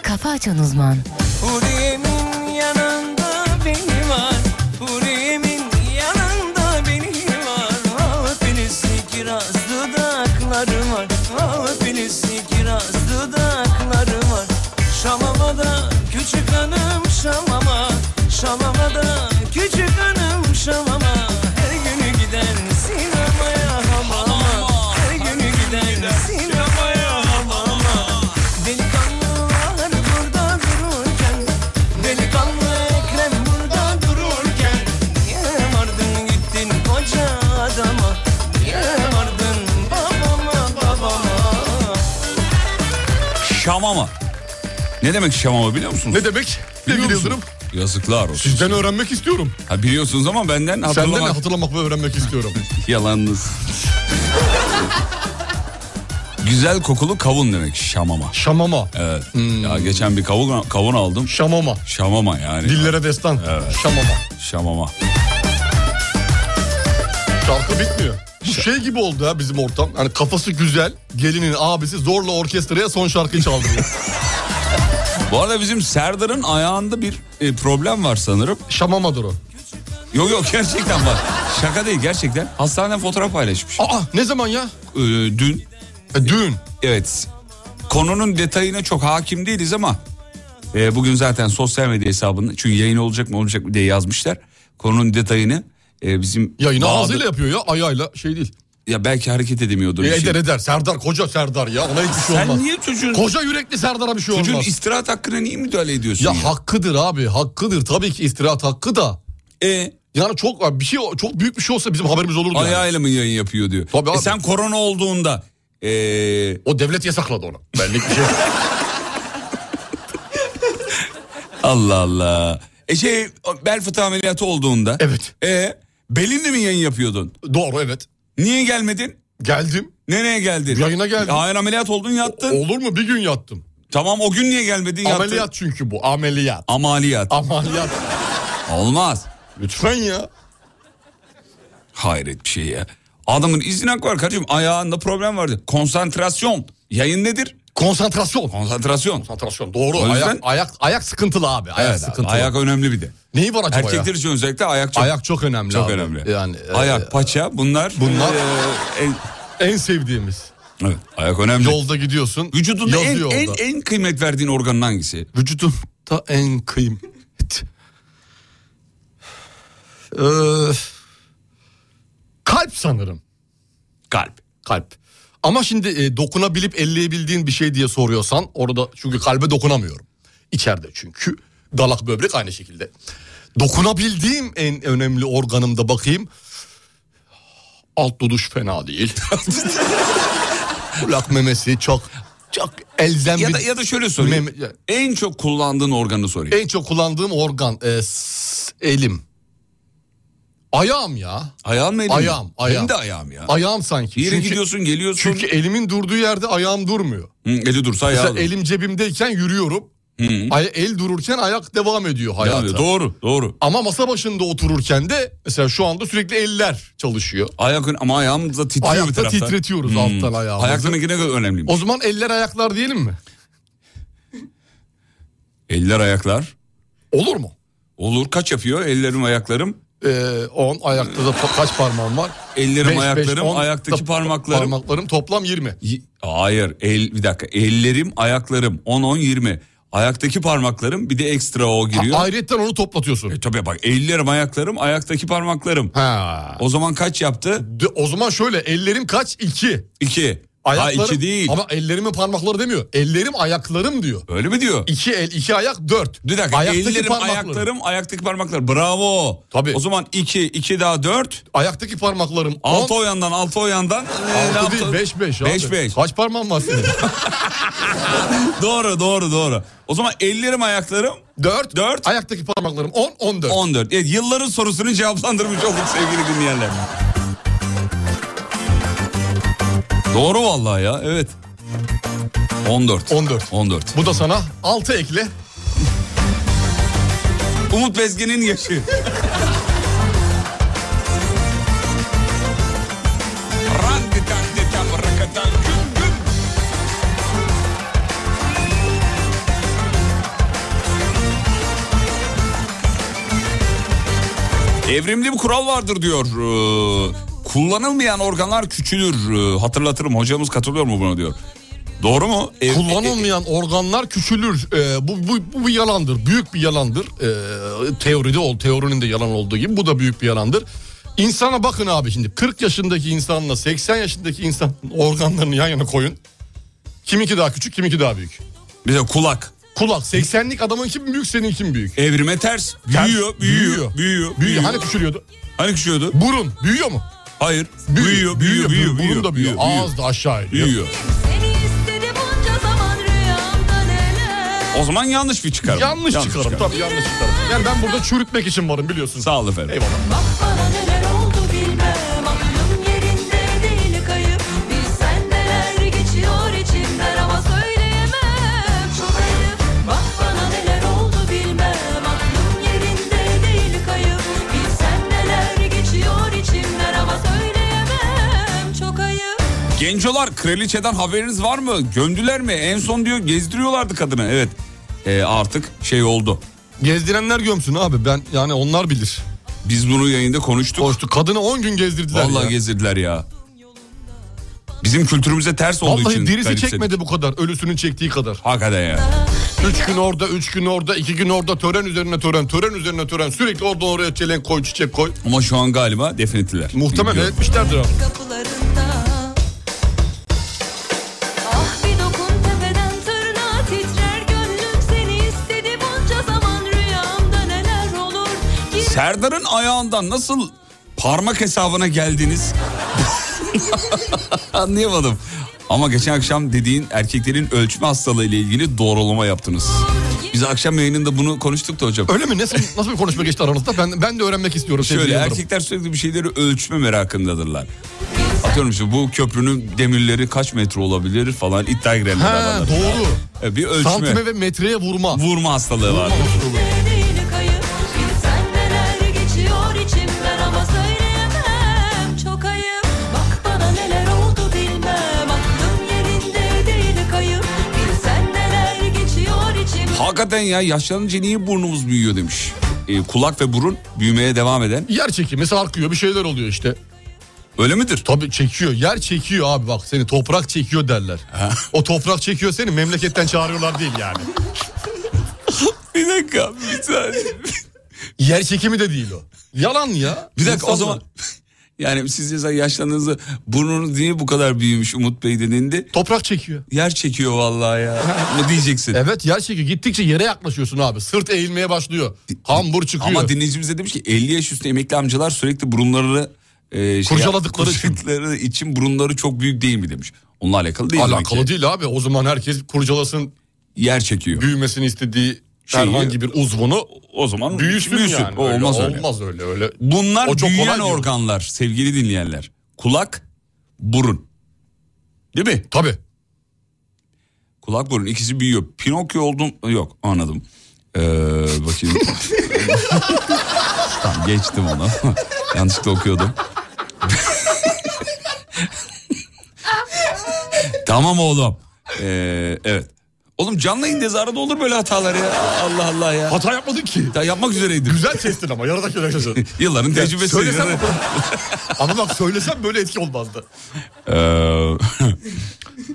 Kafa Açan Uzman Huriye'min yanında beni var Huriye'min yanında beni var Ah Filistin kiraz dudakları var Ah Filistin kiraz dudakları var Şamama'da küçük hanım Şamama Şamama'da küçük hanım Şamama Her günü gider sinemaya hamama Her günü gider sinemaya hamama Delikanlılar burada dururken Delikanlı Ekrem burada dururken Niye vardın gittin koca adama Niye vardın babama babama Şamama. Ne demek şamama biliyor musunuz? Ne demek? Biliyor Sevgili musun? Yıldırım. Yazıklar olsun. Sizden öğrenmek istiyorum. Ha, biliyorsunuz ama benden hatırlamak Senden de hatırlamak ve öğrenmek istiyorum. yalanınız. Güzel kokulu kavun demek şamama. [laughs] Şamama. Evet. Ya geçen bir kavun, kavun aldım. Şamama. Şamama yani. Dillere destan. Şamama. Şamama. Şarkı bitmiyor. Bu şey gibi oldu ya bizim ortam. Hani kafası güzel, gelinin abisi zorla orkestraya son şarkıyı çaldırıyor. Bu arada bizim Serdar'ın ayağında bir e, problem var sanırım. [laughs] Şamamadır o. Yok yok gerçekten var. Şaka değil gerçekten. Hastaneden fotoğraf paylaşmış. Aa ne zaman ya? Ee, dün E, düğün. evet konunun detayına çok hakim değiliz ama e, bugün zaten sosyal medya hesabında çünkü yayın olacak mı olacak mı diye yazmışlar. Konunun detayını e, bizim Yayını Bahadır- ağzıyla yapıyor ya ayağıyla şey değil. ya belki hareket edemiyordur. E, bir şey. eder eder. Serdar koca Serdar ya ona hiçbir şey olmaz. Sen niye çocuğun, Koca yürekli Serdar'a bir şey çocuğun olmaz. istirahat hakkına niye müdahale ediyorsun? Ya hakkıdır abi hakkıdır tabii ki istirahat hakkı da. E, Yani çok bir şey çok büyük bir şey olsa bizim haberimiz olurdu. yani. ayağıyla mı yayın yapıyor diyor. Tabii E, abi. sen korona olduğunda e, O devlet yasakladı onu. Benlik bir [laughs] şey. Allah Allah. E şey bel fıtığı ameliyatı olduğunda. Evet. E belinle mi yayın yapıyordun? Doğru evet. Niye gelmedin? Geldim. Nereye geldin? Yayına geldim. Hayır ameliyat oldun yattın. Olur mu? Bir gün yattım. Tamam o gün niye gelmedin yattın? Ameliyat çünkü bu. Ameliyat. Ameliyat. Ameliyat. Olmaz. Lütfen ya. Hayret bir şey ya. Adamın izin hakkı var kardeşim. Ayağında problem vardı. Konsantrasyon. Yayın nedir? Konsantrasyon. Konsantrasyon. Konsantrasyon doğru. O yüzden- Ayak, ayak, ayak sıkıntılı abi. Ayak Evet, sıkıntılı. ayak önemli bir de. Neyi var acaba Erkekler ya? için özellikle ayak çok, Ayak çok önemli çok abi. önemli. Yani, e, ayak, paça bunlar. Bunlar- e, en- En sevdiğimiz. evet, ayak önemli. Yolda gidiyorsun. Vücudunda en, yazıyor en, orada. en kıymet verdiğin organın hangisi? Vücudumda en kıymet. Ee, kalp sanırım. Kalp. kalp. Ama şimdi e, dokunabilip elleyebildiğin bir şey diye soruyorsan orada çünkü kalbe dokunamıyorum. İçeride çünkü dalak böbrek aynı şekilde. Dokunabildiğim en önemli organımda bakayım. Alt duduş fena değil. [laughs] Kulak memesi çok çok elzem Ya bir- da, ya da şöyle sorayım. Mem- ya- E- en çok kullandığın organı sorayım. En çok kullandığım organ e, s- elim. Ayağım ya. Ayağın mı elin mi? Ayağım, ayağım. Benim de ayağım ya. Ayağım sanki. Bir yere Çünkü- gidiyorsun geliyorsun. çünkü elimin durduğu yerde ayağım durmuyor. Hı, eli dursa ayağı Mesela durur. elim cebimdeyken yürüyorum. Ay- el dururken ayak devam ediyor hayata. Yani doğru doğru. Ama masa başında otururken de mesela şu anda sürekli eller çalışıyor. Ayak ön- ama ayağım da titriyor bir Hmm. Ayakta tarafta. titretiyoruz alttan ayağımızı. Ayaklarınki ne kadar önemli. O zaman eller ayaklar diyelim mi? Eller ayaklar. Olur mu? Olur kaç yapıyor ellerim ayaklarım. 10 ayakta da to- kaç parmağım var? Ellerim Beş, beş, ayaklarım on ayaktaki da- parmaklarım. Parmaklarım toplam 20. Y- Hayır el bir dakika ellerim ayaklarım 10 10 20. Ayaktaki parmaklarım bir de ekstra o giriyor. Ha, ayrıyetten onu toplatıyorsun. E tabii bak ellerim ayaklarım ayaktaki parmaklarım. Ha. O zaman kaç yaptı? De- o zaman şöyle ellerim kaç? İki. İki. Ayaklarım, ha iki değil. Ama ellerimin parmakları demiyor. Ellerim ayaklarım diyor. Öyle mi diyor? İki el, iki ayak, dört. Bir dakika Ayaktaki ellerim parmakları. ayaklarım ayaktaki parmaklar. Bravo. Tabii. O zaman iki iki daha dört. Ayaktaki parmaklarım. Altı on, o yandan altı o yandan. Ee, ne altı yaptı? değil, beş beş. abi. Beş beş. Kaç parmağın var [laughs] senin? Doğru doğru doğru. O zaman ellerim ayaklarım dört. Dört. Ayaktaki parmaklarım on, on dört. 14. Evet, yılların sorusunu cevaplandırmış olduk sevgili dinleyenler. Doğru vallahi ya evet. 14. 14. 14. Bu da sana altı ekle. Umut Bezgin'in yaşı. Evrimli bir kural vardır diyor. Ee, kullanılmayan organlar küçülür. Ee, hatırlatırım hocamız katılıyor mu buna diyor. Doğru mu? Ev- e, Kullanılmayan organlar küçülür. Ee, bu, bu, bu bir yalandır. Büyük bir yalandır. Ee, teoride ol. Teorinin de yalan olduğu gibi bu da büyük bir yalandır. İnsana bakın abi şimdi 40 yaşındaki insanla 80 yaşındaki insan [laughs] organlarını yan yana koyun. Kiminki daha küçük, kiminki daha büyük. Bize e, kulak. Kulak 80'lik adamın kim büyük, senin kim büyük? Evrime ters. Büyüyor, büyüyor, büyüyor, büyüyor. büyüyor. Büyüyor. Hani küçülüyordu? Hani küçüyordu? Burun büyüyor mu? Hayır. Büyüyor, büyüyor, büyüyor, büyüyor. Burun da büyüyor. Ağız da aşağı iniyor. büyüyor. Seni istedi bunca zaman rüyamda neler O zaman yanlış bir çıkarım. Yanlış, çıkarım. Tabii yanlış çıkarım. Yani ben burada çürütmek için varım biliyorsun. Sağ ol efendim. Eyvallah. Bak bana neler oldu bilmem Aklım yerinde değil kayıp Bilsen neler geçiyor içimden Ama söyleyemem çok ayıp Bak bana neler oldu bilmem Aklım yerinde değil kayıp Bilsen neler geçiyor içimden Ama söyleyemem çok ayıp Gencolar kraliçeden haberiniz var mı? Gömdüler mi? En son diyor gezdiriyorlardı kadını. Evet. Ee, artık şey oldu. Gezdirenler gömsün abi ben yani onlar bilir. Biz bunu yayında konuştuk. Koştu kadını 10 gün gezdirdiler Vallahi ya. gezdirdiler ya. Bizim kültürümüze ters olduğu Vallahi için. dirisi garipsedim. çekmedi bu kadar ölüsünün çektiği kadar. Hakikaten ya. 3 gün orada 3 gün orada 2 gün orada tören üzerine tören tören üzerine tören sürekli oradan oraya çelen koy çiçek koy. Ama şu an galiba defnettiler. Muhtemelen Bilmiyorum. etmişlerdir abi. kapılarında Ah bir dokun tepeden tırnağa titrer gönlüm seni istedi bunca zaman rüyamda neler olur Gir Serdar'ın ayağından nasıl parmak hesabına geldiniz? [laughs] Anlayamadım. Ama geçen akşam dediğin erkeklerin ölçme hastalığı ile ilgili doğrulama yaptınız. Biz akşam yayınında bunu konuştuk da hocam. Öyle şey mi nasıl nasıl bir konuşma geçti aranızda ben ben de öğrenmek istiyorum. sevgili Şöyle Yıldırım. erkekler sürekli bir şeyleri ölçme merakındadırlar. Atıyorum işte bu köprünün demirleri kaç metre olabilir falan iddia girerler Ha aralarında. doğru. E, Bir ölçme Santime ve metreye vurma. vurma hastalığı var. değil kayıp Bilsen neler geçiyor içimden ama söyleyemem çok ayıp Bak bana neler oldu bilmem aklım yerinde değil kayıp Bilsen neler geçiyor içimden Hakikaten ya yaşlanınca niye burnumuz büyüyor demiş. E, kulak ve burun büyümeye devam eden. Yer çekimi sarkıyor bir şeyler oluyor işte. Öyle midir? Tabii çekiyor. Yer çekiyor abi bak seni toprak çekiyor derler. O toprak çekiyor seni memleketten çağırıyorlar değil yani. Bir dakika bir saniye. Yer çekimi de değil o. Yalan ya. Bir dakika o İnsanlar- zaman yani siz mesela yaşlandığınızda burnunuz niye bu kadar büyümüş Umut Bey dediğinde Toprak çekiyor. yer çekiyor vallahi ya. Ne diyeceksin? Evet yer çekiyor. Gittikçe yere yaklaşıyorsun abi. Sırt eğilmeye başlıyor. Hambur çıkıyor. Ama dinleyicimiz de demiş ki 50 yaş üstü emekli amcalar sürekli burunlarını e, şey- Kurcaladıkları için. kurcaladıkları için burunları çok büyük değil mi demiş. Onunla alakalı değil. demek Alakalı ki. değil abi. O zaman herkes kurcalasın Yer çekiyor. büyümesini istediği Şeyi- herhangi bir uzvunu o zaman büyüsün, büyüsün. yani. O Öyle olmaz öyle. olmaz öyle. öyle. Bunlar O çok kolay büyüyen diyor. organlar sevgili dinleyenler. Kulak, burun. Değil mi? Tabii. Kulak burun ikisi büyüyor. Pinokyo oldum yok anladım. Ee, bakayım. [laughs] tamam geçtim onu. [laughs] Yanlışlıkla okuyordum. [laughs] tamam oğlum. Ee, evet. Oğlum canlı indizarda olur böyle hatalar ya. Allah Allah ya. Hata yapmadın ki. Ya yapmak üzereydim. Güzel kestin ama yarıda kestin. [laughs] Yılların tecrübesi. [laughs] Söylesem ama bak söylesem böyle etki olmazdı. Ee,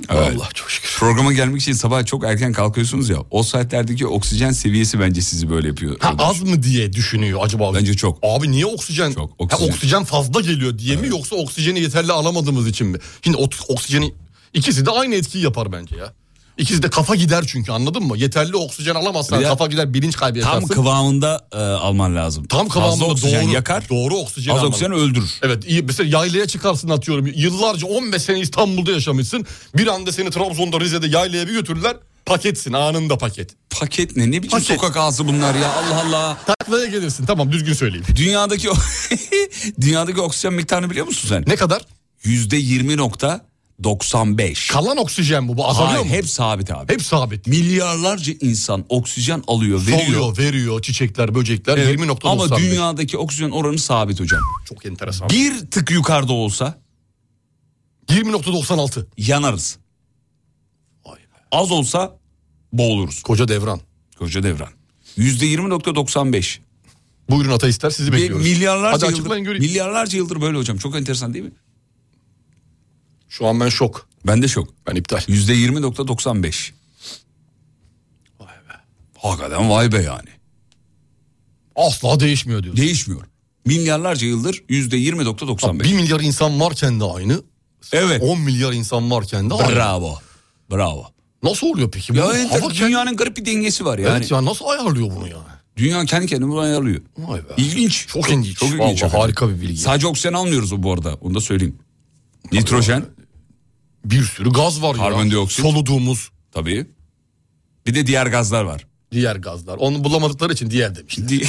Allah çok şükür. Programa gelmek için sabah çok erken kalkıyorsunuz ya. O saatlerdeki oksijen seviyesi bence sizi böyle yapıyor. Ha, az mı diye düşünüyor acaba? Bence çok. Abi niye oksijen? Ha, oksijen. oksijen. fazla geliyor diye mi yoksa oksijeni yeterli alamadığımız için mi? Şimdi ot- oksijeni ikisi de aynı etkiyi yapar bence ya. İkisi de kafa gider çünkü anladın mı? Yeterli oksijen alamazsan Ya, kafa gider bilinç kaybı Tam yaşarsın. kıvamında e, alman lazım. Tam kıvamında Fazla oksijen doğru, yakar. Doğru oksijen Az alman oksijen öldürür. Evet iyi mesela yaylaya çıkarsın atıyorum. Yıllarca 15 sene İstanbul'da yaşamışsın. Bir anda seni Trabzon'da Rize'de yaylaya bir götürürler. Paketsin anında paket. Paket ne? Ne biçim Paket. sokak ağzı bunlar ya? Allah Allah. Taklaya gelirsin tamam düzgün söyleyeyim. Dünyadaki o- [laughs] dünyadaki oksijen miktarını biliyor musun sen? Ne kadar? Yüzde yirmi nokta 95. Kalan oksijen bu. Bu azalıyor Hayır, mu? hep sabit abi. Hep sabit. Milyarlarca insan oksijen alıyor, veriyor. Soluyor, veriyor çiçekler, böcekler. Evet, 20 nokta Ama 95. dünyadaki oksijen oranı sabit hocam. çok enteresan. Bir tık yukarıda olsa 20.96. yanarız. Vay be. Az olsa boğuluruz. Koca devran. Koca devran. Yüzde yirmi nokta 95. Buyurun ata ister sizi Ve bekliyoruz. milyarlarca Hadi yıldır, açıklayın göreyim. milyarlarca yıldır böyle hocam. Çok enteresan değil mi? Şu an ben şok. Ben de şok. Ben iptal. Yüzde yirmi nokta 95. Vay be. Hakikaten vay be yani. Asla değişmiyor diyorsun. Değişmiyor. Milyarlarca yıldır yüzde yirmi nokta 95. 1 milyar insan varken de aynı. Evet. 10 milyar insan varken de aynı. Bravo. Bravo. Nasıl oluyor peki? Ya Bu enter- hava kendi- dünyanın garip bir dengesi var yani. Evet ya nasıl ayarlıyor bunu ya? Dünya kendi kendini bunu ayarlıyor. Vay be. İlginç. Çok ilginç. Vallahi harika bir bilgi. Sadece oksijen almıyoruz bu arada. Onu da söyleyeyim. Nitrojen Bir sürü gaz var ya. Karbondioksit. Soluduğumuz tabii. Bir de diğer gazlar var. diğer gazlar. Onu bulamadıkları için diğer demişler. [laughs] Di-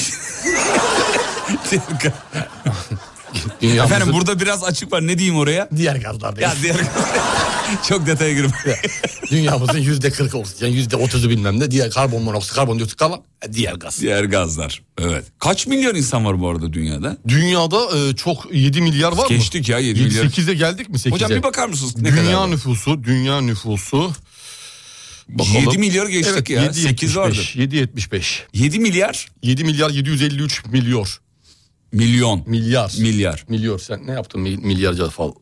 Diğer gaz- Dünyamızın Efendim burada biraz açık var. Ne diyeyim oraya? diğer gazlar değil. Ya diğer [laughs] Çok detaya girme. Dünyamızın yüzde kırk oksijen, yüzde otuzu bilmem ne diğer karbon monoksit, karbondioksit kalan e, diğer gaz. diğer gazlar. Evet. Kaç milyar insan var bu arada dünyada? Dünyada e, çok 7 milyar var mı? Geçtik ya 7 milyar. 8'e geldik mi 8'e? Hocam bir bakar mısınız ne kadar? Dünya var? nüfusu, dünya nüfusu. 7 milyar geçtik ya. 8 vardı. 7.75. 7 milyar 7 milyar 753 milyar. milyon. Milyar. Milyar. milyar. Sen ne yaptın mi- milyarca fal?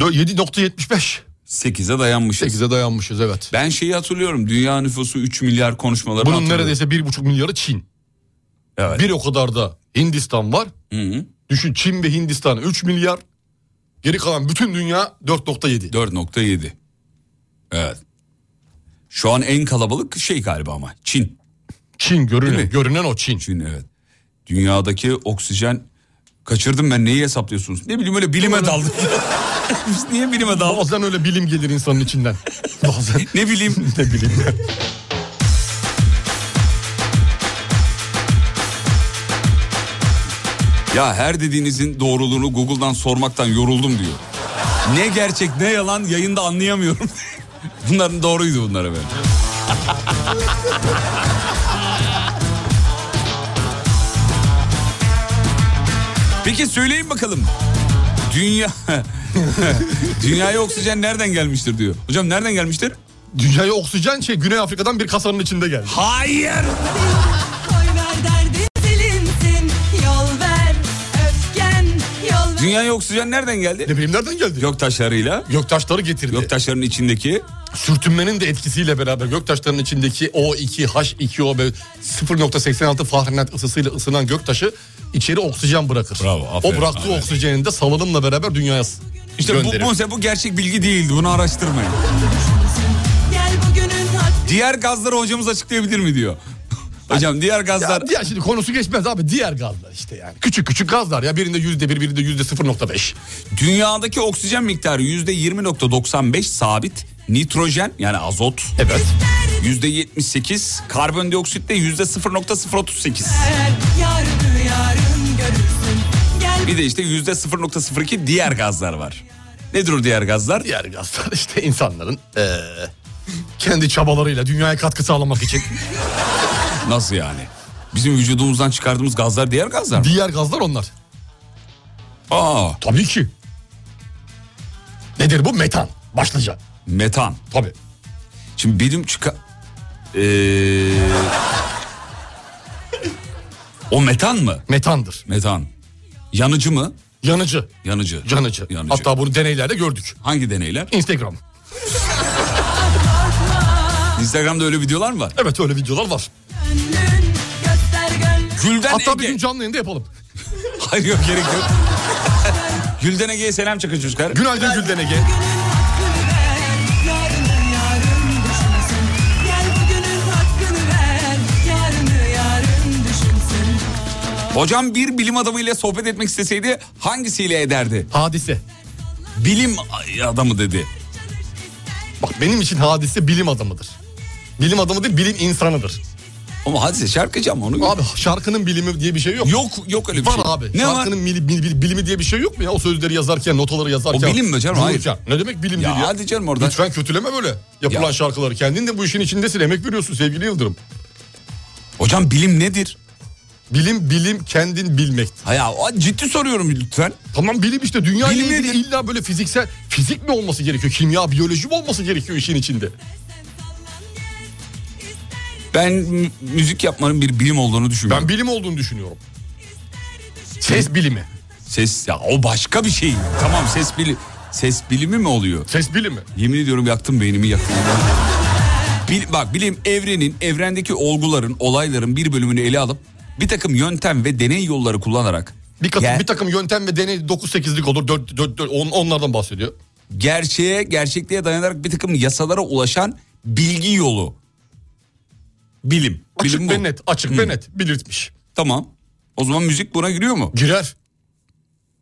Dö- 7.75. 8'e dayanmışız. 8'e dayanmışız evet. Ben şeyi hatırlıyorum. Dünya nüfusu 3 milyar konuşmaları Bunun hatırlıyorum. neredeyse 1.5 milyarı Çin. Evet. Bir o kadar da Hindistan var. Hı hı. Düşün Çin ve Hindistan 3 milyar. Geri kalan bütün dünya 4.7. 4.7. Evet. Şu an en kalabalık şey galiba ama Çin. Çin Değil görünen, mi? görünen o Çin. Çin evet. Dünyadaki oksijen kaçırdım ben neyi hesaplıyorsunuz? Ne bileyim öyle bilime daldık. [laughs] Biz niye bilime daldık? Bazen öyle bilim gelir insanın [laughs] içinden. Bazen Ne bileyim. ne bileyim. Ya her dediğinizin doğruluğunu Google'dan sormaktan yoruldum diyor. Ne gerçek ne yalan yayında anlayamıyorum. [laughs] Bunların doğruydu bunlar efendim. Peki söyleyin bakalım. Dünya [laughs] Dünyaya oksijen nereden gelmiştir diyor. Hocam nereden gelmiştir? Dünyaya oksijen şey Güney Afrika'dan bir kasanın içinde geldi. Hayır. Koy ver derdin silinsin Yol ver öfken Yol ver Dünyaya oksijen nereden geldi? Ne bileyim nereden geldi? Göktaşlarıyla. Göktaşları getirdi. Göktaşların içindeki Sürtünmenin de etkisiyle beraber göktaşların içindeki O2, H2O ve 0.86 Fahrenheit ısısıyla ısınan göktaşı içeri oksijen bırakır. Bravo, aferin, o bıraktığı aferin. oksijeni de salınımla beraber dünyaya s- İşte bu, gönderir. bu, bu gerçek bilgi değildi. Bunu araştırmayın. Gel bugünün hakkı Diğer gazları hocamız açıklayabilir mi diyor. [laughs] Hocam diğer gazlar Ya diğer şimdi konusu geçmez abi diğer gazlar işte yani. Küçük küçük gazlar ya birinde yüzde bir birinde yüzde 0.5. dünyadaki oksijen miktarı yüzde 20.95 sabit. Nitrojen yani azot Evet. yüzde 78, karbondioksit de yüzde 0.038. ver Yarını yarın görürsün Gel Bir de işte yüzde 0.02 diğer gazlar var. Nedir o diğer gazlar? Diğer gazlar işte insanların eee, kendi çabalarıyla dünyaya katkı sağlamak [laughs] için Nasıl yani? Bizim vücudumuzdan çıkardığımız gazlar diğer gazlar mı? diğer gazlar onlar. Aa, Tabii ki. Nedir bu? Metan. Başlıca. metan. Tabii. Şimdi benim çıka... Ee... o metan mı? Metandır. Metan. Yanıcı mı? Yanıcı. Yanıcı. Canıcı. Yanıcı. Hatta bunu deneylerde gördük. hangi deneyler? Instagram. Instagram'da öyle videolar mı var? Evet öyle videolar var. Gülden Hatta bir Ege. gün canlı yayında yapalım. Hayır yok gerek yok. [laughs] Gülden Ege'ye selam çakın çocuklar. Günaydın Gülden Ege. Yarını yarın düşünsün Gel bugünün hakkını ver Yarını yarın düşünsün Hocam bir bilim adamıyla sohbet etmek isteseydi hangisiyle ederdi? Hadise. Bilim adamı dedi. Bak benim için hadise bilim adamıdır. Bilim adamı değil bilim insanıdır. Ama hadise şarkıcı ama onu. Abi şarkının bilimi diye bir şey yok. Yok yok öyle bir Var şey. abi. Ne var? şarkının mili- bil- bil- bilimi diye bir şey yok mu ya? O sözleri yazarken, notaları yazarken. O bilim mi canım? Hayır. Vururken. Ne demek bilim Ya değil ya? hadi canım oradan. Lütfen kötüleme böyle. Yapılan Ya. şarkıları. Kendin de bu işin içindesin. Emek veriyorsun sevgili Yıldırım. Hocam bilim nedir? Bilim, bilim kendin bilmek. Ha ya o- ciddi soruyorum lütfen. Tamam bilim işte dünya ile Bilim ilgili nedir? illa böyle fiziksel fizik mi olması gerekiyor? Kimya, biyoloji mi olması gerekiyor işin içinde? Ben m- müzik yapmanın bir bilim olduğunu düşünmüyorum. Ben bilim olduğunu düşünüyorum. Ses bilimi. Ses ya o başka bir şey. Tamam ses bili ses bilimi mi oluyor? Ses bilimi. Yemin ediyorum yaktım beynimi yaktım. Bil- bak bilim evrenin, evrendeki olguların, olayların bir bölümünü ele alıp bir takım yöntem ve deney yolları kullanarak Bir, kat- ger- bir takım yöntem ve deney 9-8'lik olur. 4, 4, 4, onlardan bahsediyor. gerçeğe, gerçekliğe dayanarak bir takım yasalara ulaşan bilgi yolu. Bilim. Açık bilim bu. ve net. Açık ve net. Belirtmiş. Tamam. O zaman müzik buna giriyor mu? Girer.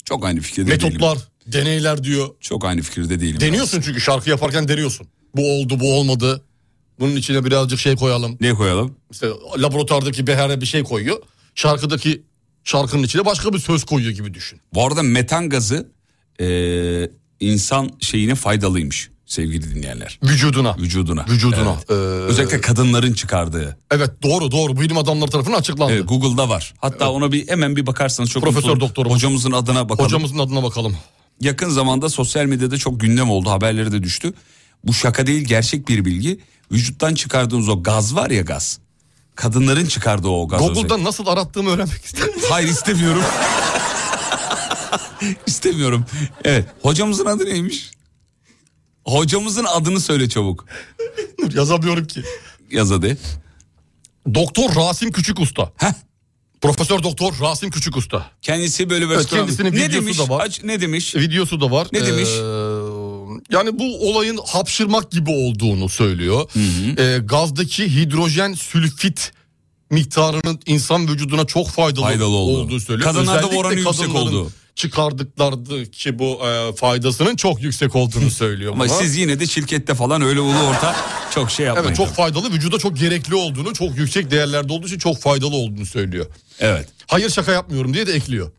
Çok aynı fikirde değilim. Metotlar, deneyler diyor. Çok aynı fikirde değilim. Deniyorsun çünkü şarkı yaparken deniyorsun. Bu oldu, bu olmadı. Bunun içine birazcık şey koyalım. Ne koyalım? İşte laboratuvardaki behere bir şey koyuyor. Şarkıdaki şarkının içine başka bir söz koyuyor gibi düşün. Bu arada metan gazı eee, insan şeyine faydalıymış sevgili dinleyenler. Vücuduna. Vücuduna. Vücuduna. Evet. Ee, Özellikle kadınların çıkardığı. Evet doğru doğru. Bilim adamları tarafından açıklandı. Evet, Google'da var. Hatta ona bir hemen bir bakarsanız çok Profesör mutlu olurum. doktorumuz. Hocamızın adına bakalım. Hocamızın adına bakalım. Yakın zamanda sosyal medyada çok gündem oldu. Haberleri de düştü. Bu şaka değil gerçek bir bilgi. Vücuttan çıkardığımız o gaz var ya gaz. Kadınların çıkardığı o gaz. özellikle. Google'da nasıl arattığımı öğrenmek [laughs] istedim. Hayır istemiyorum. istemiyorum. Evet. Hocamızın adı neymiş? Hocamızın adını söyle çabuk. Yazamıyorum ki. Yaz hadi. Doktor Rasim Küçük Usta. Heh. Profesör Doktor Rasim Küçük Usta. Kendisi böyle böyle. Evet, kendisinin ne videosu demiş? da var. Aç, ne demiş? Videosu da var. Ne demiş? Ee, yani bu olayın hapşırmak gibi olduğunu söylüyor. Ee, gazdaki hidrojen sülfit miktarının insan vücuduna çok faydalı, Faydalı oldu. olduğu söylüyor. Kadınlarda bu Özellikle oranı yüksek kadınların oldu. Çıkardıklardaki bu e, faydasının çok yüksek olduğunu söylüyor. Ama buna. siz yine de şirkette falan öyle ulu orta çok şey yapmayın. Evet çok faydalı vücuda çok gerekli olduğunu çok yüksek değerlerde olduğu için çok faydalı olduğunu söylüyor. Evet. Hayır şaka yapmıyorum diye de ekliyor.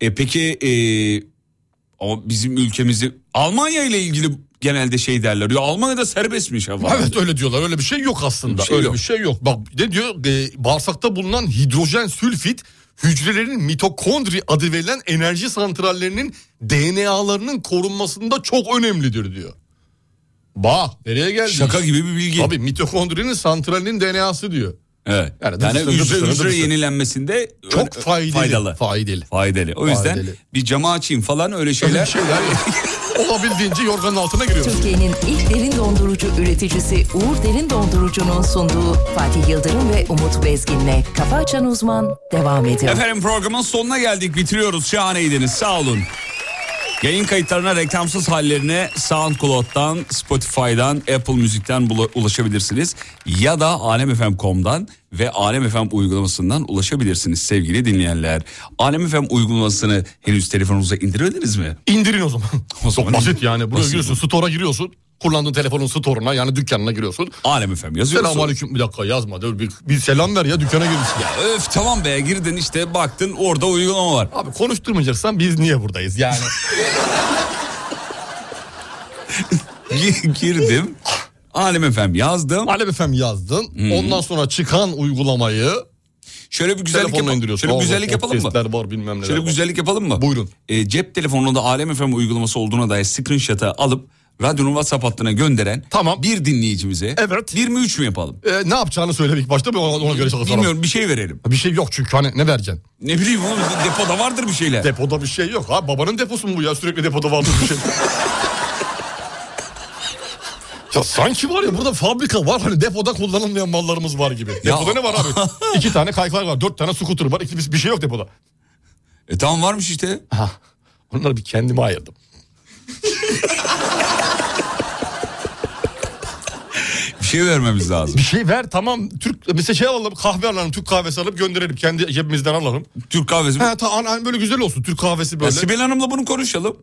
E peki e, ama bizim ülkemizde Almanya ile ilgili genelde şey derler. Ya Almanya'da serbestmiş ha falan. Evet öyle diyorlar öyle bir şey yok aslında Bir şey öyle yok. bir şey yok. Bak ne diyor E, bağırsakta bulunan hidrojen sülfit hücrelerin mitokondri adı verilen enerji santrallerinin DNA'larının korunmasında çok önemlidir diyor. Bak nereye geldi? Şaka gibi bir bilgi. Abi mitokondrinin santralinin DNA'sı diyor. Evet. Yani Yani, dıdısını, hücre dıdısını, hücre dıdısını. yenilenmesinde Çok ö- faydalı. faydalı. Faydalı. Faydalı. O yüzden Faydalı. bir cama açayım falan öyle Öyle şey- bir şeyler. şeyler [laughs] olabildiğince yorganın altına giriyoruz. Türkiye'nin ilk derin dondurucu üreticisi Uğur Derin Dondurucu'nun sunduğu Fatih Yıldırım ve Umut Bezgin'le Kafa Açan Uzman devam ediyor. Efendim programın sonuna geldik. Bitiriyoruz. Şahaneydiniz. Sağ olun. Yayın kayıtlarına reklamsız hallerine SoundCloud'dan, Spotify'dan, Apple Müzik'ten bula- ulaşabilirsiniz. Ya da alemfm.com'dan ve alemfm uygulamasından ulaşabilirsiniz sevgili dinleyenler. Alemfm uygulamasını henüz telefonunuza indirdiniz mi? İndirin o zaman. O zaman Çok basit yani. Buraya Basit giriyorsun, store'a giriyorsun. Kullandığın telefonun store'una yani dükkanına giriyorsun. Alemfm yazıyorsun. Selamünaleyküm bir dakika yazma. Dur Bir, bir selam ver ya dükkana girmişsin. Ya. Öf tamam be girdin işte baktın orada uygulama var. Abi konuşturmayacaksan biz niye buradayız [laughs] yani? Gi- Girdim. Alem efendim yazdım. Alev FM yazdın. Hmm. Ondan sonra çıkan uygulamayı Şöyle bir güzellik telefonla yapalım. indiriyorsun. Şöyle bir Orada güzellik yapalım mı? podcastler var bilmem neler Şöyle bir var. güzellik yapalım mı? Buyurun. E, cep telefonunda Alem FM uygulaması olduğuna dair screenshot'ı alıp radyonun WhatsApp hattına gönderen Tamam. bir dinleyicimize Evet. bir mi üç mü yapalım? Ee, ne yapacağını söyle ilk başta ben ona, ona göre çalışalım. Bilmiyorum bir şey verelim. Bir şey yok çünkü hani ne vereceksin? Ne bileyim oğlum depoda vardır bir şeyler. Depoda bir şey yok. [laughs] Ha babanın deposu mu bu ya? Sürekli depoda vardır bir şey. Ya sanki var ya burada fabrika var hani depoda kullanılmayan mallarımız var gibi. Depoda ne var [laughs] abi? İki tane kaykay var, dört tane scooter var, iki, bir şey yok depoda. E tamam varmış işte. Ha, onları bir kendime ayırdım. Bir şey vermemiz lazım. [laughs] Bir şey ver tamam Türk mesela şey alalım kahve alalım Türk kahvesi alıp gönderelim kendi cebimizden alalım. Türk kahvesi. Ha, ta, hani böyle güzel olsun Türk kahvesi Ya böyle. Sibel Hanım'la bunu konuşalım.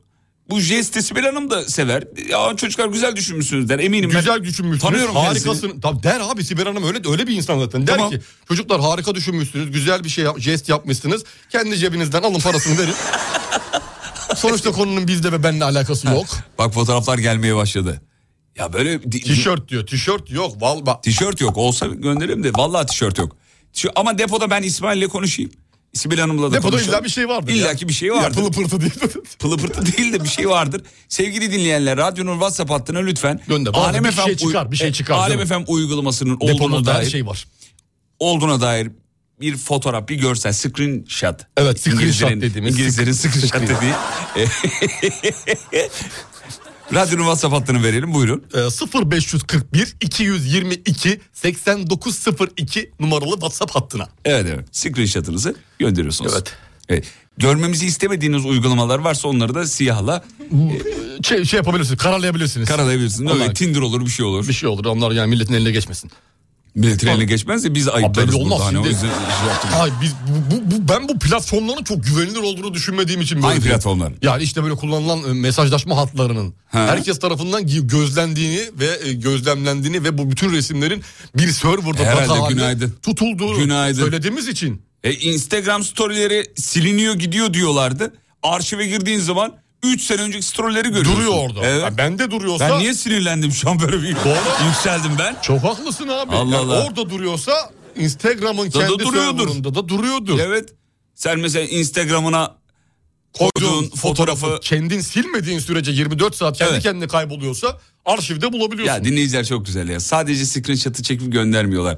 Bu jesti Sibel Hanım da sever. Ya çocuklar güzel düşünmüşsünüz der eminim. ben. Güzel düşünmüşsünüz. Tanıyorum Harikasın. Tabii der abi Sibel Hanım öyle öyle bir insan zaten. Der Tamam. ki çocuklar harika düşünmüşsünüz. Güzel bir şey yap- jest yapmışsınız. Kendi cebinizden alın parasını [laughs] verin. Sonuçta konunun bizde ve benimle alakası yok. Bak fotoğraflar gelmeye başladı. Ya böyle di- Tişört diyor. Tişört yok. Val bak. tişört yok. Olsa gönderelim de vallahi tişört yok. Şu- ama depoda ben İsmail'le konuşayım. Sibel Hanım'la da Depoda konuşalım. illa bir şey vardır ya. İlla ki bir şey vardır. Ya pılı pırtı diye. Pılı pırtı değil de bir şey vardır. Sevgili dinleyenler radyonun WhatsApp hattına lütfen. Gönder. Bazen bir şey çıkar, bir şey e, çıkar Alem canım. FM uygulamasının olduğuna Deponuzda her dair, şey var. olduğuna dair bir fotoğraf, bir görsel, screenshot. Evet, screenshot İngilizlerin- dediğimiz- İngilizlerin screenshot dediği. [laughs] E, radyonun WhatsApp hattını verelim buyurun. Ee, 0541 222 8902 numaralı WhatsApp hattına. Evet evet. Screenshot'ınızı gönderiyorsunuz. Evet. Evet. Görmemizi istemediğiniz uygulamalar varsa onları da siyahla Şey, şey yapabilirsiniz, karalayabilirsiniz. karalayabilirsiniz. Öyle Vallahi- Tinder olur bir şey olur. bir şey olur onlar yani milletin eline geçmesin. Milletin eline geçmez de biz ayıplarız belli olmaz burada. Hani o şimdi. yüzden şey yaptım. Ay biz bu, bu- bu- ben bu platformların çok güvenilir olduğunu düşünmediğim için böyle. Hangi diyorum. platformların? Yani işte böyle kullanılan e, mesajlaşma hatlarının Ha. herkes tarafından gi- gözlendiğini ve e, gözlemlendiğini ve bu bütün resimlerin bir serverda data E, Herhalde haline günaydın. tutulduğunu Günaydın. söylediğimiz için E, Instagram storyleri siliniyor gidiyor diyorlardı. Arşive girdiğin zaman 3 sene önceki storyleri görüyorsun. duruyor orada. Evet. Yani bende duruyorsa Ben niye sinirlendim şu an böyle bir Doğru. [laughs] yükseldim ben? Çok haklısın abi. Yani Allah Allah. orada duruyorsa Instagram'ın da kendi duruyordur. serverında da duruyordur. Evet. Sen mesela Instagram'ına koyduğun fotoğrafı kendin silmediğin sürece 24 saat kendi Evet. kendine kayboluyorsa arşivde bulabiliyorsun. Ya dinleyiciler çok güzel ya. Sadece screenshot'ı çekip göndermiyorlar.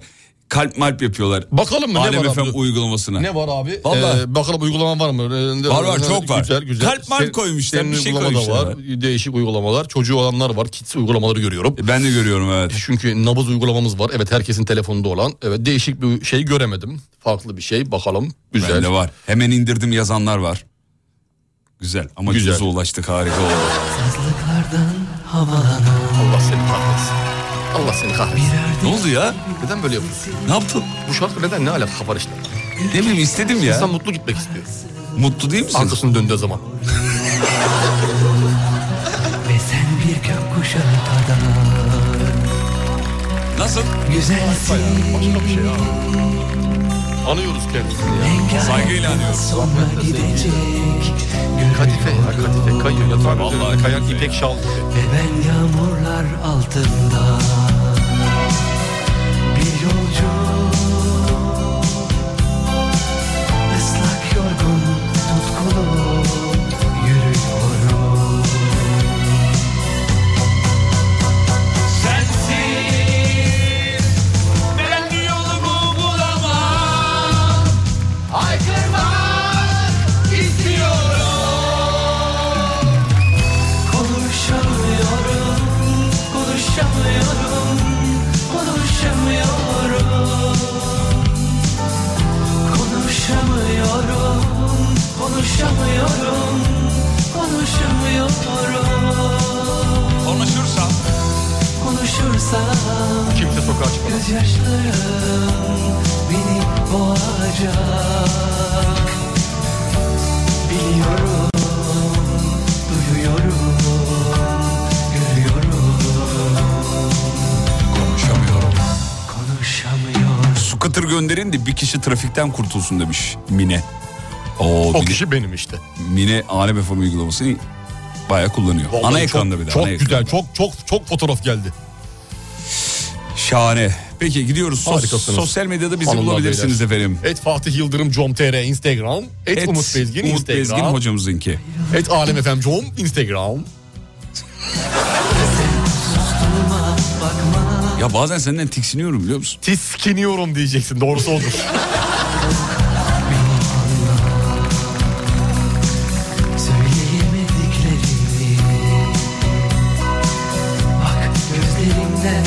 Kalp malp yapıyorlar. bakalım mı ne Alem var FM abi? uygulamasına. Ne var abi? Vallahi. Ee, bakalım uygulaman var mı? Ee, Var var, çok var. Güzel güzel. Kalp mark Senin- koymuşlar, senin bir şey uygulama da koymuşlar var. Değişik uygulamalar. Çocuğu olanlar var. Kids uygulamaları görüyorum. E, Ben de görüyorum evet. Çünkü nabız uygulamamız var. Evet herkesin telefonunda olan. Evet değişik bir şey göremedim. Farklı bir şey. Bakalım. Güzel. Bende var. Hemen indirdim yazanlar var. Güzel. Amacımıza Güzel. ulaştık harika oldu. Allah seni kahretsin. Allah seni kahretsin. ne oldu ya? Neden böyle yapıyorsun? Ne yaptın? Bu şarkı neden ne alaka var işte? Ne bileyim istedim ya. İnsan mutlu gitmek istiyor. Mutlu değil misin? Arkasını döndüğü zaman. Ve sen bir gökkuşağı adam Nasıl? Güzelsin Başka bir şey ya. Anıyoruz kendisini ya. Saygıyla anıyorum. sonra gidecek Kadife ya kadife kayıyor yatağın üzerinde kayan ipek şal. Ve ben yağmurlar altında Bir yolcu Islak yorgun tutkulu yürüyorum Sensiz ben yolumu bulamam Aykırmak istiyorum Konuşamıyorum, konuşamıyorum, konuşamıyorum Konuşamıyorum, konuşamıyorum, konuşamıyorum Konuşursam. Konuşursam Kimse sokağa çıkamaz. Gözyaşlarım beni boğacak Biliyorum, duyuyorum, görüyorum Konuşamıyorum. Konuşamıyorum Su kıtır gönderin de bir kişi trafikten kurtulsun demiş Mine. Oo, O Mine- kişi benim işte. Mine Alem FM uygulamasını bayağı kullanıyor. Vallahi ana çok- ekranda bir de. Çok ana güzel. ekranda. Çok çok çok fotoğraf geldi. Şahane. Peki gidiyoruz. Sos- Harikasınız. sosyal medyada bizi Hanımlar, bulabilirsiniz efendim. Et Fatih Yıldırım com.tr Instagram. Et, Et Umut Bezgin Umut Instagram. Bezgin hocamızınki. Et Alem Efem com Instagram. Ya bazen senden tiksiniyorum biliyor musun? Tiskiniyorum diyeceksin. Doğrusu odur. Söyleyemediklerimi Bak gözlerim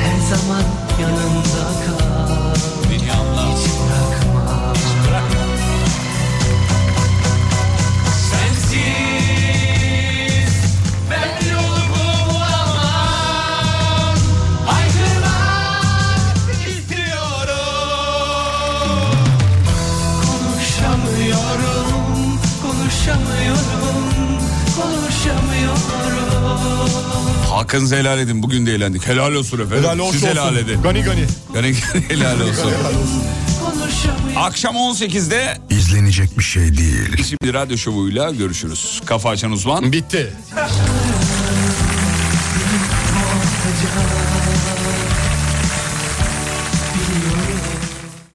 Her zaman yanımda kal Beni anla. Hiç bırakma Sensiz ben yolumu bulamam Haykırmak istiyorum Konuşamıyorum Konuşamıyorum Konuşamıyorum Hakkınızı helal edin. Bugün de eğlendik. Helal olsun efendim. Helal olsun. Siz helal edin. Gani gani. Yani [laughs] helal olsun. Konuşamıyorum Akşam 18'de İzlenecek bir şey değil. isimli radyo şovuyla görüşürüz. Kafa açan uzman. Bitti.